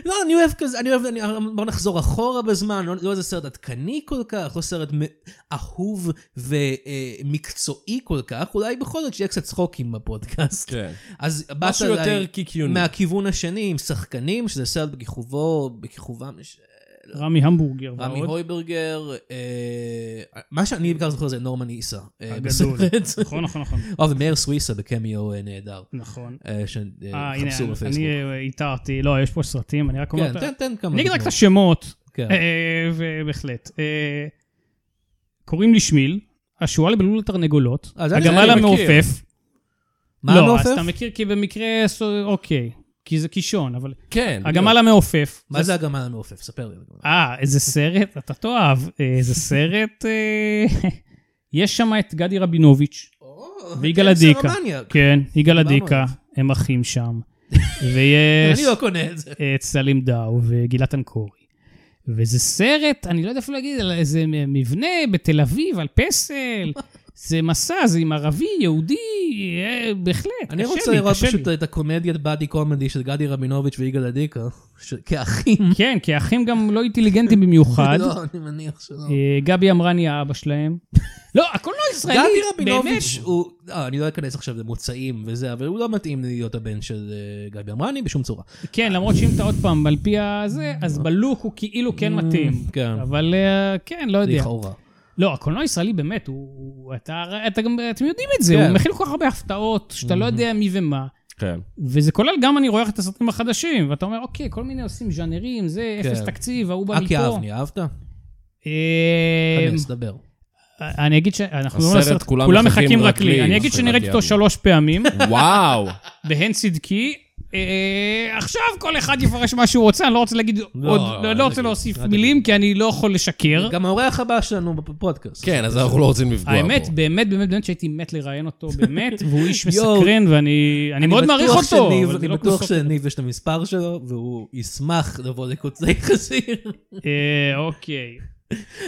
Speaker 3: לא, אני אוהב כזה, אני אוהב, אני, בוא נחזור אחורה בזמן, לא, לא איזה סרט עדכני כל כך, לא סרט מ- אהוב ומקצועי כל כך, אולי בכל זאת שיהיה קצת צחוקים בפודקאסט.
Speaker 2: כן.
Speaker 3: אז באת
Speaker 2: משהו
Speaker 3: אליי
Speaker 2: יותר קיקיוני.
Speaker 3: מהכיוון השני, עם שחקנים, שזה סרט בכיכובו, בכיכובם, ש-
Speaker 4: רמי המבורגר
Speaker 3: רמי
Speaker 4: ועוד.
Speaker 3: הויברגר, אה, מה שאני בעיקר זוכר זה נורמן איסה. אה,
Speaker 4: הגדול.
Speaker 3: בסרט.
Speaker 4: נכון, נכון, נכון.
Speaker 3: אה, ומאיר סוויסה בקמיו אה, נהדר,
Speaker 4: נכון.
Speaker 3: אה,
Speaker 4: אה, הנה,
Speaker 3: שחפשו
Speaker 4: אני
Speaker 3: בפייסבוק.
Speaker 4: אה, איתרתי, לא, יש פה סרטים, אני רק אומר...
Speaker 3: כן,
Speaker 4: את ה-
Speaker 3: תן- תן כמה.
Speaker 4: אני אגיד רק את
Speaker 3: דוגמאות.
Speaker 4: השמות,
Speaker 3: כן.
Speaker 4: אה, ובהחלט. אה, קוראים לי שמיל, השועל בלול התרנגולות,
Speaker 3: אה, זה אני
Speaker 4: הגמל
Speaker 2: מכיר.
Speaker 4: המעופף.
Speaker 3: מה
Speaker 4: לא, אז
Speaker 3: המעופף?
Speaker 4: אתה מכיר כי במקרה, ס- אוקיי, כי זה קישון, אבל...
Speaker 2: כן.
Speaker 4: הגמל המעופף.
Speaker 3: מה זה הגמל המעופף? ספר לי.
Speaker 4: אה, איזה סרט, אתה תאהב, אה, איזה סרט... אה, [LAUGHS] יש שם את גדי רבינוביץ', ויגאל אדיקה. כן, יגאל
Speaker 3: אוקיי. דיברנו
Speaker 4: אדיקה,
Speaker 3: על
Speaker 4: הם אחים שם.
Speaker 3: [LAUGHS]
Speaker 4: ויש...
Speaker 3: אני לא קונה את זה.
Speaker 4: אה, את סלים דאו וגילת אנקורי. וזה סרט, אני לא יודע אפילו להגיד, על איזה מבנה בתל אביב, על
Speaker 3: [LAUGHS]
Speaker 4: פסל. זה מסע, זה עם ערבי, יהודי, אה, בהחלט, קשה לי,
Speaker 3: אני רוצה לראות
Speaker 4: קשה לי.
Speaker 3: פשוט את הקומדיית באדי קומדי של גדי רבינוביץ' ויגאל אדיקה, ש- כאחים.
Speaker 4: כן, כי האחים גם לא אינטליגנטים במיוחד.
Speaker 3: [LAUGHS] לא, אני מניח שלא.
Speaker 4: אה, גבי אמרני האבא
Speaker 3: [LAUGHS]
Speaker 4: שלהם. לא, הקולנוע הישראלי,
Speaker 3: גדי
Speaker 4: באמת.
Speaker 3: רבינוביץ' הוא, אה, אני לא אכנס עכשיו למוצאים וזה, אבל הוא לא מתאים להיות הבן של אה, גבי אמרני בשום צורה.
Speaker 4: כן, למרות שאם אתה עוד פעם על פי הזה, אז בלוק הוא כאילו כן
Speaker 2: Mm,
Speaker 4: מתאים.
Speaker 3: כן.
Speaker 4: אבל אה, כן, לא יודע.
Speaker 3: לכאורה.
Speaker 4: לא, הקולנוע הישראלי באמת, הוא, הוא, אתה, אתה גם, אתם יודעים את זה,
Speaker 3: כן.
Speaker 4: הוא מכיל כל כך הרבה הפתעות, שאתה
Speaker 2: Mm-hmm.
Speaker 4: לא יודע מי ומה,
Speaker 2: כן.
Speaker 4: וזה כולל גם אני רואה את הסרטים החדשים, ואתה אומר, אוקיי, כל מיני עושים ז'אנרים, זה,
Speaker 3: כן.
Speaker 4: אפס תקציב, ההוא בא
Speaker 3: אקי
Speaker 4: מפה.
Speaker 3: אבני, אהבת?
Speaker 4: אה,
Speaker 3: כנס, דבר.
Speaker 4: אני אגיד שאנחנו לא
Speaker 2: הסרט,
Speaker 4: הסרט,
Speaker 2: כולם
Speaker 4: כולם
Speaker 2: מחכים
Speaker 4: מחכים
Speaker 2: רק
Speaker 4: רק לי.
Speaker 2: לי,
Speaker 4: אני אגיד
Speaker 2: מחכים
Speaker 4: שאני
Speaker 2: רק
Speaker 4: ראיתי אותו
Speaker 2: לי.
Speaker 4: שלוש פעמים,
Speaker 2: וואו.
Speaker 4: בהן צדקי. אה, עכשיו כל אחד יפרש מה שהוא רוצה, אני לא רוצה להגיד עוד,
Speaker 3: אל
Speaker 4: לא- לא רוצה
Speaker 3: תגיד,
Speaker 4: להוסיף
Speaker 3: אל
Speaker 4: מילים, כי אני לא יכול לשקר.
Speaker 3: גם האורח הבא שלנו בפודקאסט.
Speaker 2: כן, אז אנחנו לא רוצים לפגוע בו.
Speaker 4: האמת, באמת, באמת, באמת שהייתי מת לראיין אותו, באמת, והוא איש
Speaker 3: יואו.
Speaker 4: מסקרן, ואני אני מאוד מעריך
Speaker 3: בטוח
Speaker 4: אותו.
Speaker 3: שניב-
Speaker 4: אבל זה
Speaker 3: אני
Speaker 4: לא
Speaker 3: בטוח
Speaker 4: כוסות.
Speaker 3: שלניב יש את המספר שלו, והוא ישמח לבוא לקוצי [LAUGHS] חזיר.
Speaker 4: אה, אוקיי.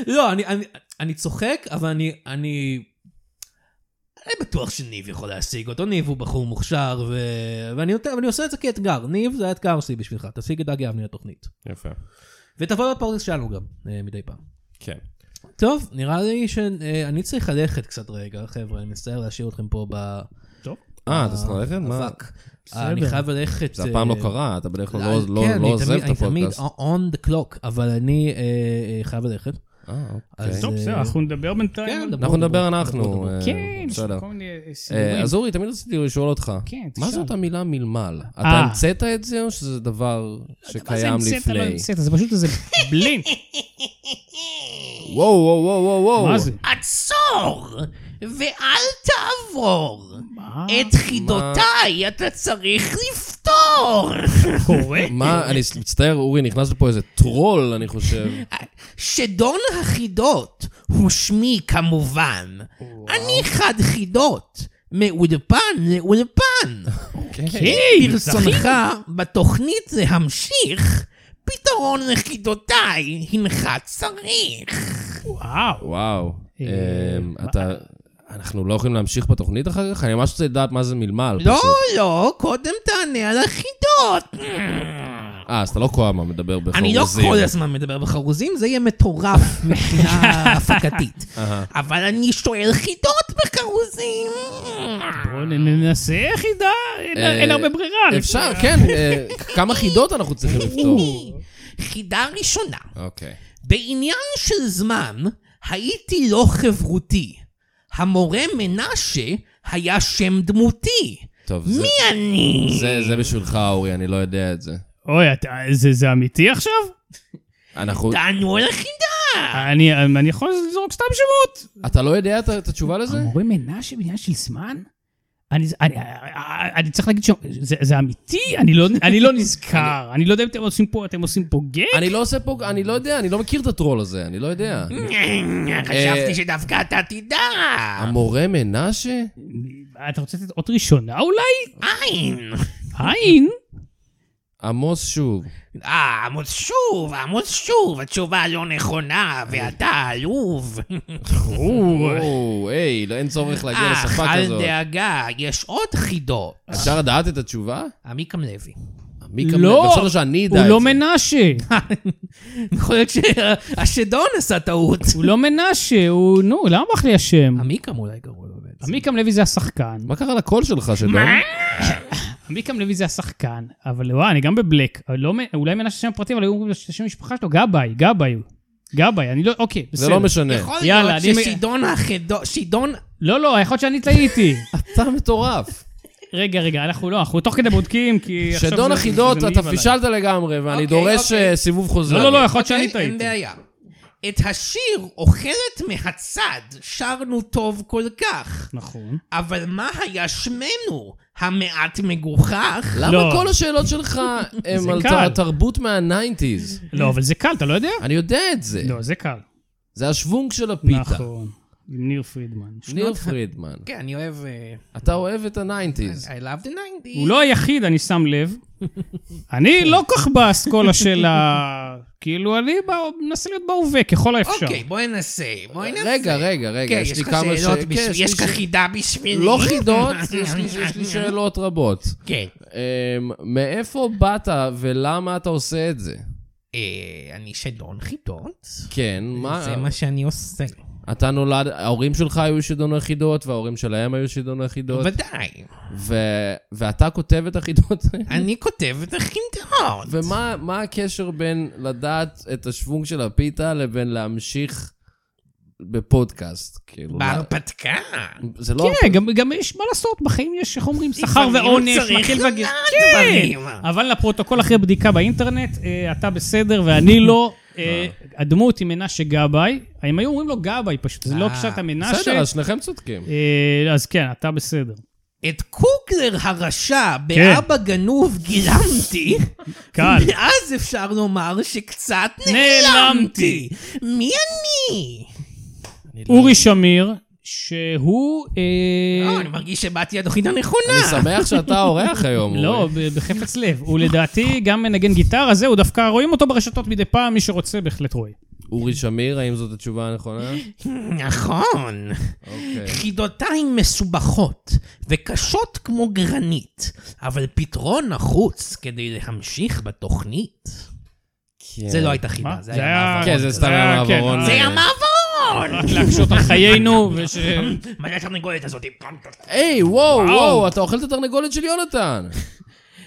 Speaker 3: לא, אני- אני- אני צוחק, אבל אני... אני אני בטוח שניב יכול להשיג אותו, ניב הוא בחור מוכשר, ו... ואני, יותר, ואני עושה את זה כאתגר. ניב, זה האתגר שלי בשבילך, תשיג את דגי אבני לתוכנית.
Speaker 2: יפה.
Speaker 3: ותבוא לפודקאסט שלנו גם, אה, מדי פעם.
Speaker 2: כן.
Speaker 3: טוב, נראה לי שאני אה, צריך ללכת קצת רגע, חבר'ה, אני מצטער להשאיר אתכם פה ב...
Speaker 4: טוב.
Speaker 2: אה, אתה צריך ללכת? מה?
Speaker 3: אבק.
Speaker 5: אני חייב ללכת...
Speaker 2: זה אף פעם לא
Speaker 5: אה,
Speaker 2: קרה, אתה בדרך כלל
Speaker 5: אה,
Speaker 2: לא- לא
Speaker 5: כן,
Speaker 2: לא
Speaker 5: אני
Speaker 2: עוזב
Speaker 5: תמיד-
Speaker 2: את הפודקאסט.
Speaker 5: אני תמיד on the clock, אבל אני אה, אה, חייב ללכת.
Speaker 2: אה,
Speaker 5: אז-
Speaker 2: אוקיי.
Speaker 4: טוב, בסדר, אנחנו נדבר בינתיים.
Speaker 5: כן,
Speaker 4: על-
Speaker 5: דבר.
Speaker 2: אנחנו נדבר
Speaker 5: דברו,
Speaker 2: אנחנו.
Speaker 5: דברו.
Speaker 2: אה,
Speaker 4: כן, יש
Speaker 2: בסדר.
Speaker 4: כל מיני אה,
Speaker 2: אה,
Speaker 4: סידורים.
Speaker 2: אז אורי, תמיד רציתי לשאול אותך,
Speaker 4: כן, תשאל.
Speaker 2: מה זאת המילה מלמל? אתה
Speaker 4: אה.
Speaker 2: המצאת את זה או שזה דבר
Speaker 4: מה זה
Speaker 2: שקיים
Speaker 4: המצאת? לא
Speaker 2: לפני?
Speaker 4: המצאת, זה פשוט איזה בלין.
Speaker 2: וואו, וואו, וואו, וואו, וואו.
Speaker 4: מה זה?
Speaker 3: עצור, ואל תעבור. את חידותיי אתה צריך לפתור.
Speaker 4: קורה?
Speaker 2: [LAUGHS] מה, אני ס- מצטער, אורי, נכנס לפה איזה טרול, אני חושב.
Speaker 3: אה, שדון החידות הוא שמי כמובן. אני חד חידות, מאולפן לאולפן.
Speaker 2: כן.
Speaker 3: כן.
Speaker 4: היי,
Speaker 3: ברצונך בתוכנית להמשיך, פתרון לחידותיי הנך צריך.
Speaker 4: וואו.
Speaker 2: וואו.
Speaker 4: אה,
Speaker 2: אמ,
Speaker 4: מה-
Speaker 2: אתה... אנחנו לא יכולים להמשיך בתוכנית אחר כך? אני ממש רוצה לדעת מה זה מלמל.
Speaker 3: לא,
Speaker 2: פשוט.
Speaker 3: לא, קודם תענה על החידות.
Speaker 2: אה, אז אתה לא קואמה, מדבר בחרוזים.
Speaker 3: אני לא כל הזמן מדבר בחרוזים, זה יהיה
Speaker 2: [LAUGHS]
Speaker 3: מטורף מבחינה הפקתית. אבל אני שואל חידות בחרוזים.
Speaker 4: בואו נ- ננסה חידה, אין-
Speaker 2: אה,
Speaker 4: אין הרבה ברירה.
Speaker 2: אפשר, כן. אה, כמה חידות אנחנו צריכים לפתור?
Speaker 3: חידה ראשונה,
Speaker 2: אוקיי.
Speaker 3: בעניין של זמן, הייתי לא חברותי. המורה מנשה היה שם דמותי.
Speaker 2: טוב, זה-
Speaker 3: מי אני?
Speaker 2: זה- זה בשבילך, אורי, אני לא יודע את זה.
Speaker 4: אוי, אתה- זה- זה אמיתי עכשיו?
Speaker 2: אנחנו...
Speaker 3: תענו על החידה!
Speaker 4: אני אני יכול לזרוק סתם שמות.
Speaker 2: אתה לא יודע את את התשובה לזה?
Speaker 4: המורה מנשה בעניין של זמן? אני, אני, אני, אני צריך להגיד שזה זה אמיתי, אני לא, אני לא נזכר, אני לא יודע אם אתם עושים פה, אתם עושים פה גג?
Speaker 2: אני לא עושה פה... אני לא יודע, אני לא מכיר את הטרול הזה, אני לא יודע. אה,
Speaker 3: חשבתי שדווקא אתה תדע.
Speaker 2: המורה מנשה?
Speaker 4: אתה רוצה לתת עוד ראשונה אולי?
Speaker 3: אין.
Speaker 4: אין?
Speaker 2: עמוס שוב.
Speaker 3: אה, עמוס שוב, עמוס שוב, התשובה לא נכונה, ואתה עלוב.
Speaker 2: או, היי, לא- אין צורך
Speaker 4: אה,
Speaker 2: להגיע לשפה
Speaker 3: אך, אל
Speaker 2: כזאת.
Speaker 3: דאגה, יש עוד חידות.
Speaker 2: אפשר לדעת את התשובה?
Speaker 3: עמיקם לוי.
Speaker 2: מי כמובן?
Speaker 4: לא.
Speaker 2: בסדר שאני אדע
Speaker 4: הוא
Speaker 2: את
Speaker 4: לא
Speaker 2: זה.
Speaker 4: מנשה,
Speaker 3: יכול להיות שהשדון עשה טעות.
Speaker 4: הוא לא מנשה, הוא, נו, למה ברח לי השם?
Speaker 3: עמיקם אולי קראו לו בעצם.
Speaker 4: Mm. עמיקם לוי זה השחקן.
Speaker 2: מה קרה לקול שלך, שדון?
Speaker 4: עמיקם לוי זה השחקן, אבל וואי, אני גם בבלק. לא מ- אולי מנשה שם פרטי, אבל היו אומרים לו שם משפחה שלו, גבאי, גבאי. גבאי, אני לא, אוקיי, בסדר.
Speaker 2: זה לא משנה.
Speaker 3: יכול
Speaker 4: יאללה,
Speaker 3: להיות
Speaker 4: אני מ-
Speaker 3: ששדון החידו... שדון...
Speaker 4: לא, לא, יכול להיות שאני טעיתי.
Speaker 2: אתה מטורף.
Speaker 4: רגע, רגע, אנחנו לא, אנחנו תוך כדי בודקים, כי עכשיו...
Speaker 2: שדון
Speaker 4: זה-
Speaker 2: החידות,
Speaker 4: זה מעיב
Speaker 2: אתה
Speaker 4: עליי.
Speaker 2: פישלת לגמרי, ואני
Speaker 3: אוקיי,
Speaker 2: דורש
Speaker 3: אוקיי.
Speaker 2: אה, סיבוב חוזר.
Speaker 4: לא, לא, לא, יכול להיות שאני
Speaker 3: אוקיי, אין
Speaker 4: טעיתי.
Speaker 3: בעיה. את השיר "אוכלת מהצד" שרנו טוב כל כך.
Speaker 4: נכון.
Speaker 3: אבל מה היה שמנו? המעט מגוחך?
Speaker 2: למה
Speaker 4: לא.
Speaker 2: כל השאלות [LAUGHS] שלך הן
Speaker 4: זה
Speaker 2: על
Speaker 4: קל.
Speaker 2: התרבות מהניינטיז?
Speaker 4: לא, אבל זה קל, אתה לא יודע?
Speaker 2: אני יודע את זה.
Speaker 4: לא, זה קל.
Speaker 2: זה השוונג של הפיתה.
Speaker 4: נכון. עם ניר פרידמן.
Speaker 2: ניר פרידמן.
Speaker 3: כן, אני אוהב... אה,
Speaker 2: אתה אוהב את הניינטיז.
Speaker 3: I love the 90's.
Speaker 4: הוא לא היחיד, אני שם
Speaker 2: [LAUGHS]
Speaker 4: לב. אני לא כל כך באסכולה של ה... כאילו, אני בא- מנסה להיות בהווה ככל האפשר.
Speaker 3: אוקיי, בואי ננסה. בואי ננסה.
Speaker 2: רגע, רגע, רגע,
Speaker 3: כן,
Speaker 2: יש לי
Speaker 3: לך
Speaker 2: כמה
Speaker 3: שאלות
Speaker 2: ש-
Speaker 3: בש-
Speaker 2: כן,
Speaker 3: יש
Speaker 2: לי
Speaker 3: לך
Speaker 2: ש-
Speaker 3: חידה בשבילי?
Speaker 2: לא חידות, יש לי- יש
Speaker 3: [LAUGHS]
Speaker 2: לי שאלות רבות.
Speaker 3: כן.
Speaker 2: אמ, מאיפה באת ולמה אתה עושה את זה?
Speaker 3: אה, אני שדון חידות.
Speaker 2: כן, מה...
Speaker 3: זה מה שאני עושה.
Speaker 2: אתה נולד, ההורים שלך היו שדון החידות, וההורים שלהם היו שדון החידות,
Speaker 3: בוודאי.
Speaker 2: ו... ואתה כותב את החידות האלה?
Speaker 3: אני כותב את החידות.
Speaker 2: ומה מה הקשר בין לדעת את השוונג של הפיתה לבין להמשיך בפודקאסט? כאילו,
Speaker 3: בהרפתקה.
Speaker 2: לא- זה לא...
Speaker 4: כן, גם- גם יש מה לעשות, בחיים יש, איך אומרים, שכר
Speaker 3: לפעמים
Speaker 4: ועונש,
Speaker 3: צריך
Speaker 4: מקל
Speaker 2: לא,
Speaker 3: לדעת
Speaker 4: וגז.
Speaker 3: דברים.
Speaker 4: אבל לפרוטוקול אחרי בדיקה באינטרנט, אה, אתה בסדר ואני
Speaker 2: [LAUGHS]
Speaker 4: לא. אה, הדמות היא מנשה גבאי. הם היו אומרים לו גבאי פשוט, זה לא
Speaker 3: אה,
Speaker 4: פשט
Speaker 2: בסדר,
Speaker 4: המנשה.
Speaker 2: אז שניכם צודקים.
Speaker 4: אה, אז כן, אתה
Speaker 2: [LAUGHS]
Speaker 4: בסדר.
Speaker 3: את קוקלר הרשע
Speaker 2: כן.
Speaker 3: באבא גנוב גילמתי,
Speaker 4: קל.
Speaker 3: ואז אפשר לומר שקצת
Speaker 4: נעלמתי.
Speaker 3: נעלמתי. מי אני? לא
Speaker 4: אורי שמיר, שהוא...
Speaker 2: לא,
Speaker 4: אה,
Speaker 3: אה, אני מרגיש שבאתי לתוכנית הנכונה.
Speaker 2: אני שמח שאתה אורח היום.
Speaker 4: לא,
Speaker 2: אורי.
Speaker 4: ב- בחפץ לב. הוא לדעתי גם מנגן גיטרה, זהו, דווקא רואים אותו ברשתות מדי פעם, מי שרוצה בהחלט
Speaker 2: אה,
Speaker 4: רואה.
Speaker 2: אורי שמיר, האם זאת התשובה הנכונה?
Speaker 3: נכון.
Speaker 2: אוקיי.
Speaker 3: חידותיי מסובכות וקשות כמו גרנית, אבל פתרון נחוץ כדי להמשיך בתוכנית. זה לא הייתה חידה,
Speaker 4: מה?
Speaker 3: זה
Speaker 4: זה
Speaker 3: היה
Speaker 4: היה-
Speaker 3: מעברון.
Speaker 2: כן, זה
Speaker 3: כזה.
Speaker 2: סתם היה
Speaker 4: אה, כן,
Speaker 2: מעברון.
Speaker 4: אה,
Speaker 3: זה היה
Speaker 2: אה,
Speaker 3: מעברון!
Speaker 4: רק להקשות על חיינו, וש...
Speaker 3: מה זה התרנגולת הזאת?
Speaker 2: היי, וואו,
Speaker 4: וואו.
Speaker 2: וואו, אתה אוכל את התרנגולת של יונתן.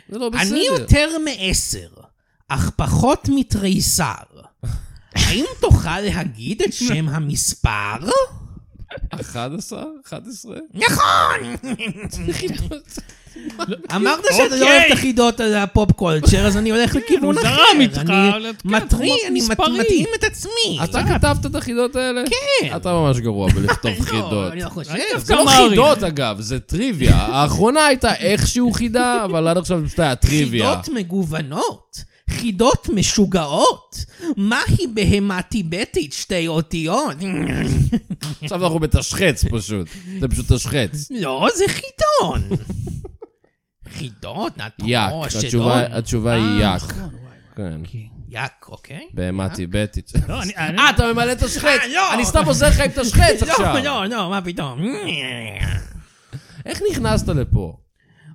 Speaker 2: זה לא
Speaker 3: אני
Speaker 2: בסדר.
Speaker 3: יותר מעשר, אך פחות מתריסר. האם תוכל להגיד את שם המספר?
Speaker 4: אוקיי,
Speaker 2: 11? 11? [LAUGHS]
Speaker 3: אמרת שאתה לא
Speaker 4: אוקיי. כן,
Speaker 3: אוהב את החידות על הפופ קולצ'ר, אז אני הולך לכיוון
Speaker 4: הוא
Speaker 3: אחר.
Speaker 4: זרם איתך,
Speaker 3: אני
Speaker 4: אבל כן,
Speaker 3: מטרי,
Speaker 4: הוא
Speaker 3: אני מת-
Speaker 4: מספרי.
Speaker 3: מתאים את עצמי. לא,
Speaker 2: אתה כתבת את החידות האלה?
Speaker 3: כן.
Speaker 2: אתה ממש גרוע בלכתוב
Speaker 3: [LAUGHS] לא,
Speaker 2: חידות.
Speaker 3: אני לא חושב.
Speaker 4: אני דווקא
Speaker 2: זה לא
Speaker 4: מעריך.
Speaker 2: חידות אגב, זה טריוויה. האחרונה הייתה איכשהו חידה, אבל עד עכשיו זה פשוט היה טריוויה.
Speaker 3: חידות מגוונות, חידות משוגעות. מהי בהמה טיבטית שתי אותיות? [LAUGHS]
Speaker 2: עכשיו אנחנו בתשחץ פשוט. זה פשוט תשחץ.
Speaker 3: לא, זה חידון. חידות, נתנו,
Speaker 2: יאק, התשובה- התשובה היא
Speaker 3: אה,
Speaker 2: יאק.
Speaker 3: נכון,
Speaker 2: כן,
Speaker 3: יאק, אוקיי.
Speaker 2: בהמה טיבטית.
Speaker 4: לא, אני- אני-
Speaker 2: אה, אתה ממלא תשחץ?
Speaker 3: אה, לא.
Speaker 2: אני סתם עוזר לך עם תשחץ
Speaker 3: [LAUGHS] לא,
Speaker 2: עכשיו.
Speaker 3: לא, לא, מה פתאום.
Speaker 2: איך נכנסת לפה?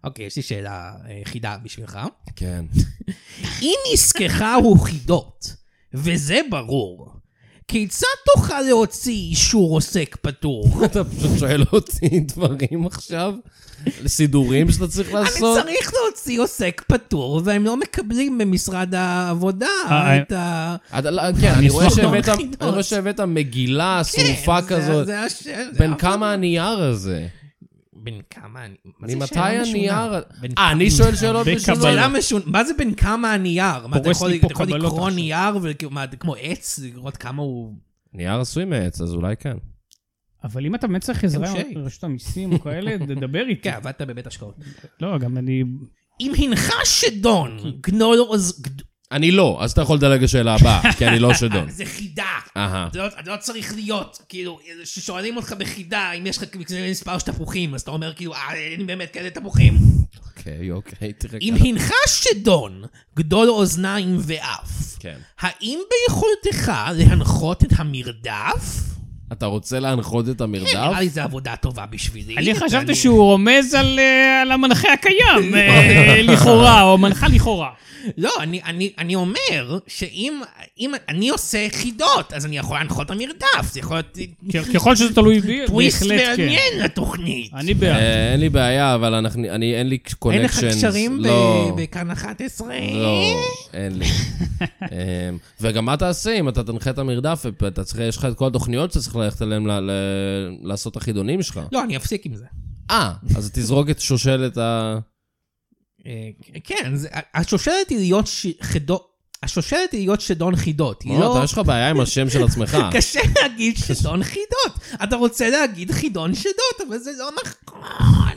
Speaker 3: אוקיי, יש לי שאלה אה, חידה בשבילך.
Speaker 2: כן.
Speaker 3: אם עסקך הוא חידות, וזה ברור, כיצד תוכל להוציא אישור עוסק פטור?
Speaker 2: [LAUGHS] אתה פשוט שואל אותי דברים עכשיו? סידורים שאתה צריך
Speaker 3: אני
Speaker 2: לעשות?
Speaker 3: צריך להוציא עוסק פטור, והם לא מקבלים במשרד העבודה
Speaker 4: אה,
Speaker 3: את ה...
Speaker 2: אתה- לא, כן, אני רואה
Speaker 3: סתם
Speaker 2: שהבאת- אני
Speaker 3: חידות.
Speaker 2: רואה שהבאת מגילה שרופה
Speaker 3: אוקיי, כן, זה-
Speaker 2: כזאת.
Speaker 3: זה הש- זה
Speaker 2: בן
Speaker 3: ה-
Speaker 2: כמה הנייר הזה?
Speaker 3: בן כמה אני... מה זה
Speaker 2: ממתי
Speaker 3: שאלה משונה?
Speaker 2: הנייר...
Speaker 3: בן
Speaker 2: אה, אני שואל שאלות
Speaker 4: בקבלה.
Speaker 2: משונות.
Speaker 3: שאלה משונה, מה זה בין כמה הנייר? מה, אתה
Speaker 4: פורס
Speaker 3: יכול
Speaker 4: לי
Speaker 3: אתה
Speaker 4: פה
Speaker 3: יכול
Speaker 4: קבלות
Speaker 3: לקרוא
Speaker 4: עכשיו.
Speaker 3: נייר כאילו, וכמו עץ, לראות כמה הוא...
Speaker 2: נייר עשוי מעץ, אז אולי כן.
Speaker 4: אבל אם אתה באמת צריך עזרה
Speaker 3: אוקיי.
Speaker 4: עם רשות המיסים או כאלה, תדבר איתי.
Speaker 3: כן, עבדת בבית השקעות.
Speaker 4: לא, גם אני...
Speaker 3: אם הנך
Speaker 2: [LAUGHS]
Speaker 3: שדון, גנול עוז... גד-
Speaker 2: אני לא, אז אתה יכול לדלג לשאלה
Speaker 3: [LAUGHS]
Speaker 2: הבאה, כי אני לא שדון.
Speaker 3: זה חידה. [LAUGHS]
Speaker 2: אהה.
Speaker 3: זה לא, אתה לא צריך להיות, כאילו, כששואלים אותך בחידה, אם יש לך כזה מספר של תפוחים, אז אתה אומר כאילו, אה, אין באמת כאלה תפוחים.
Speaker 2: אוקיי, אוקיי, תראה
Speaker 3: אם
Speaker 4: כן.
Speaker 2: ככה.
Speaker 3: הנך שדון, גדול אוזניים ואף,
Speaker 2: כן.
Speaker 3: האם ביכולתך להנחות את המרדף? כן,
Speaker 2: אתה רוצה להנחות את המרדף?
Speaker 3: נראה לי זו עבודה טובה בשבילי.
Speaker 4: אני חשבתי
Speaker 3: ואני-
Speaker 4: שהוא רומז על אה, על המנחה הקיים, אה, לכאורה, או מנחה לכאורה.
Speaker 3: לא, אני, אני, אני אומר שאם אם אני עושה חידות, אז אני יכול להנחות את המרדף, זה יכול להיות
Speaker 4: כ- כן, ככל שזה תלוי בי,
Speaker 3: טוויסט
Speaker 4: בהחלט כן.
Speaker 3: מעניין לתוכנית.
Speaker 4: אני בעד.
Speaker 2: אה, אין לי בעיה, אבל אנחנו- אני, אין לי קונקשן.
Speaker 3: אין לך קשרים ב-
Speaker 2: לא,
Speaker 3: בכאן 11?
Speaker 2: לא, אין
Speaker 3: [LAUGHS]
Speaker 2: לי. אמ, וגם מה תעשה אם אתה תנחה את המרדף, ואתה צריך, יש לך את כל התוכניות שאתה צריך ללכת אליהן ל- ל- לעשות את החידונים שלך.
Speaker 3: לא, אני אפסיק עם זה.
Speaker 2: אה, אז תזרוק את שושלת ה...
Speaker 3: אה, כן, זה- השושלת היא להיות ש- חידות, השושלת היא להיות שדון חידות. היא
Speaker 2: לא,
Speaker 3: לא...
Speaker 2: אתה, יש לך בעיה עם השם של עצמך.
Speaker 3: [LAUGHS] קשה
Speaker 2: [LAUGHS]
Speaker 3: להגיד שדון חידות. אתה רוצה להגיד חידון שדות, אבל זה לא נכון.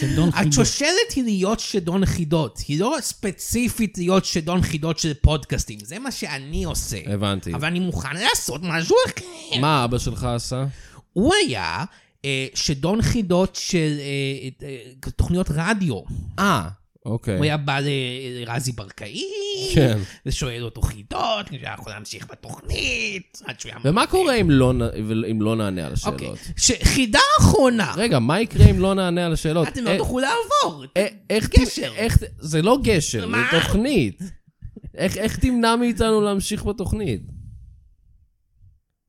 Speaker 4: שדון חידון.
Speaker 3: השושלת היא להיות שדון חידות. היא לא ספציפית להיות שדון חידות של פודקאסטים. זה מה שאני עושה.
Speaker 2: הבנתי.
Speaker 3: אבל אני מוכן לעשות משהו אחר.
Speaker 2: מה אבא שלך עשה?
Speaker 3: הוא היה אה, שדון חידות של אה, אה, תוכניות רדיו.
Speaker 2: אה, אוקיי.
Speaker 3: הוא היה בא ל- לרזי ברקאי,
Speaker 2: כן.
Speaker 3: ושואל אותו חידות, כדי שיכול להמשיך בתוכנית, עד שהוא היה...
Speaker 2: ומה קורה אם לא נ- אם לא נענה על
Speaker 3: אוקיי.
Speaker 2: השאלות?
Speaker 3: ש- חידה אחרונה,
Speaker 2: רגע, מה יקרה אם לא נענה על השאלות?
Speaker 3: אתם לא
Speaker 2: אה,
Speaker 3: תוכלו לעבור.
Speaker 2: אה, איך... ת-
Speaker 3: גשר.
Speaker 2: איך- זה לא גשר,
Speaker 3: מה?
Speaker 2: זה תוכנית. איך- איך תמנע מאיתנו להמשיך בתוכנית?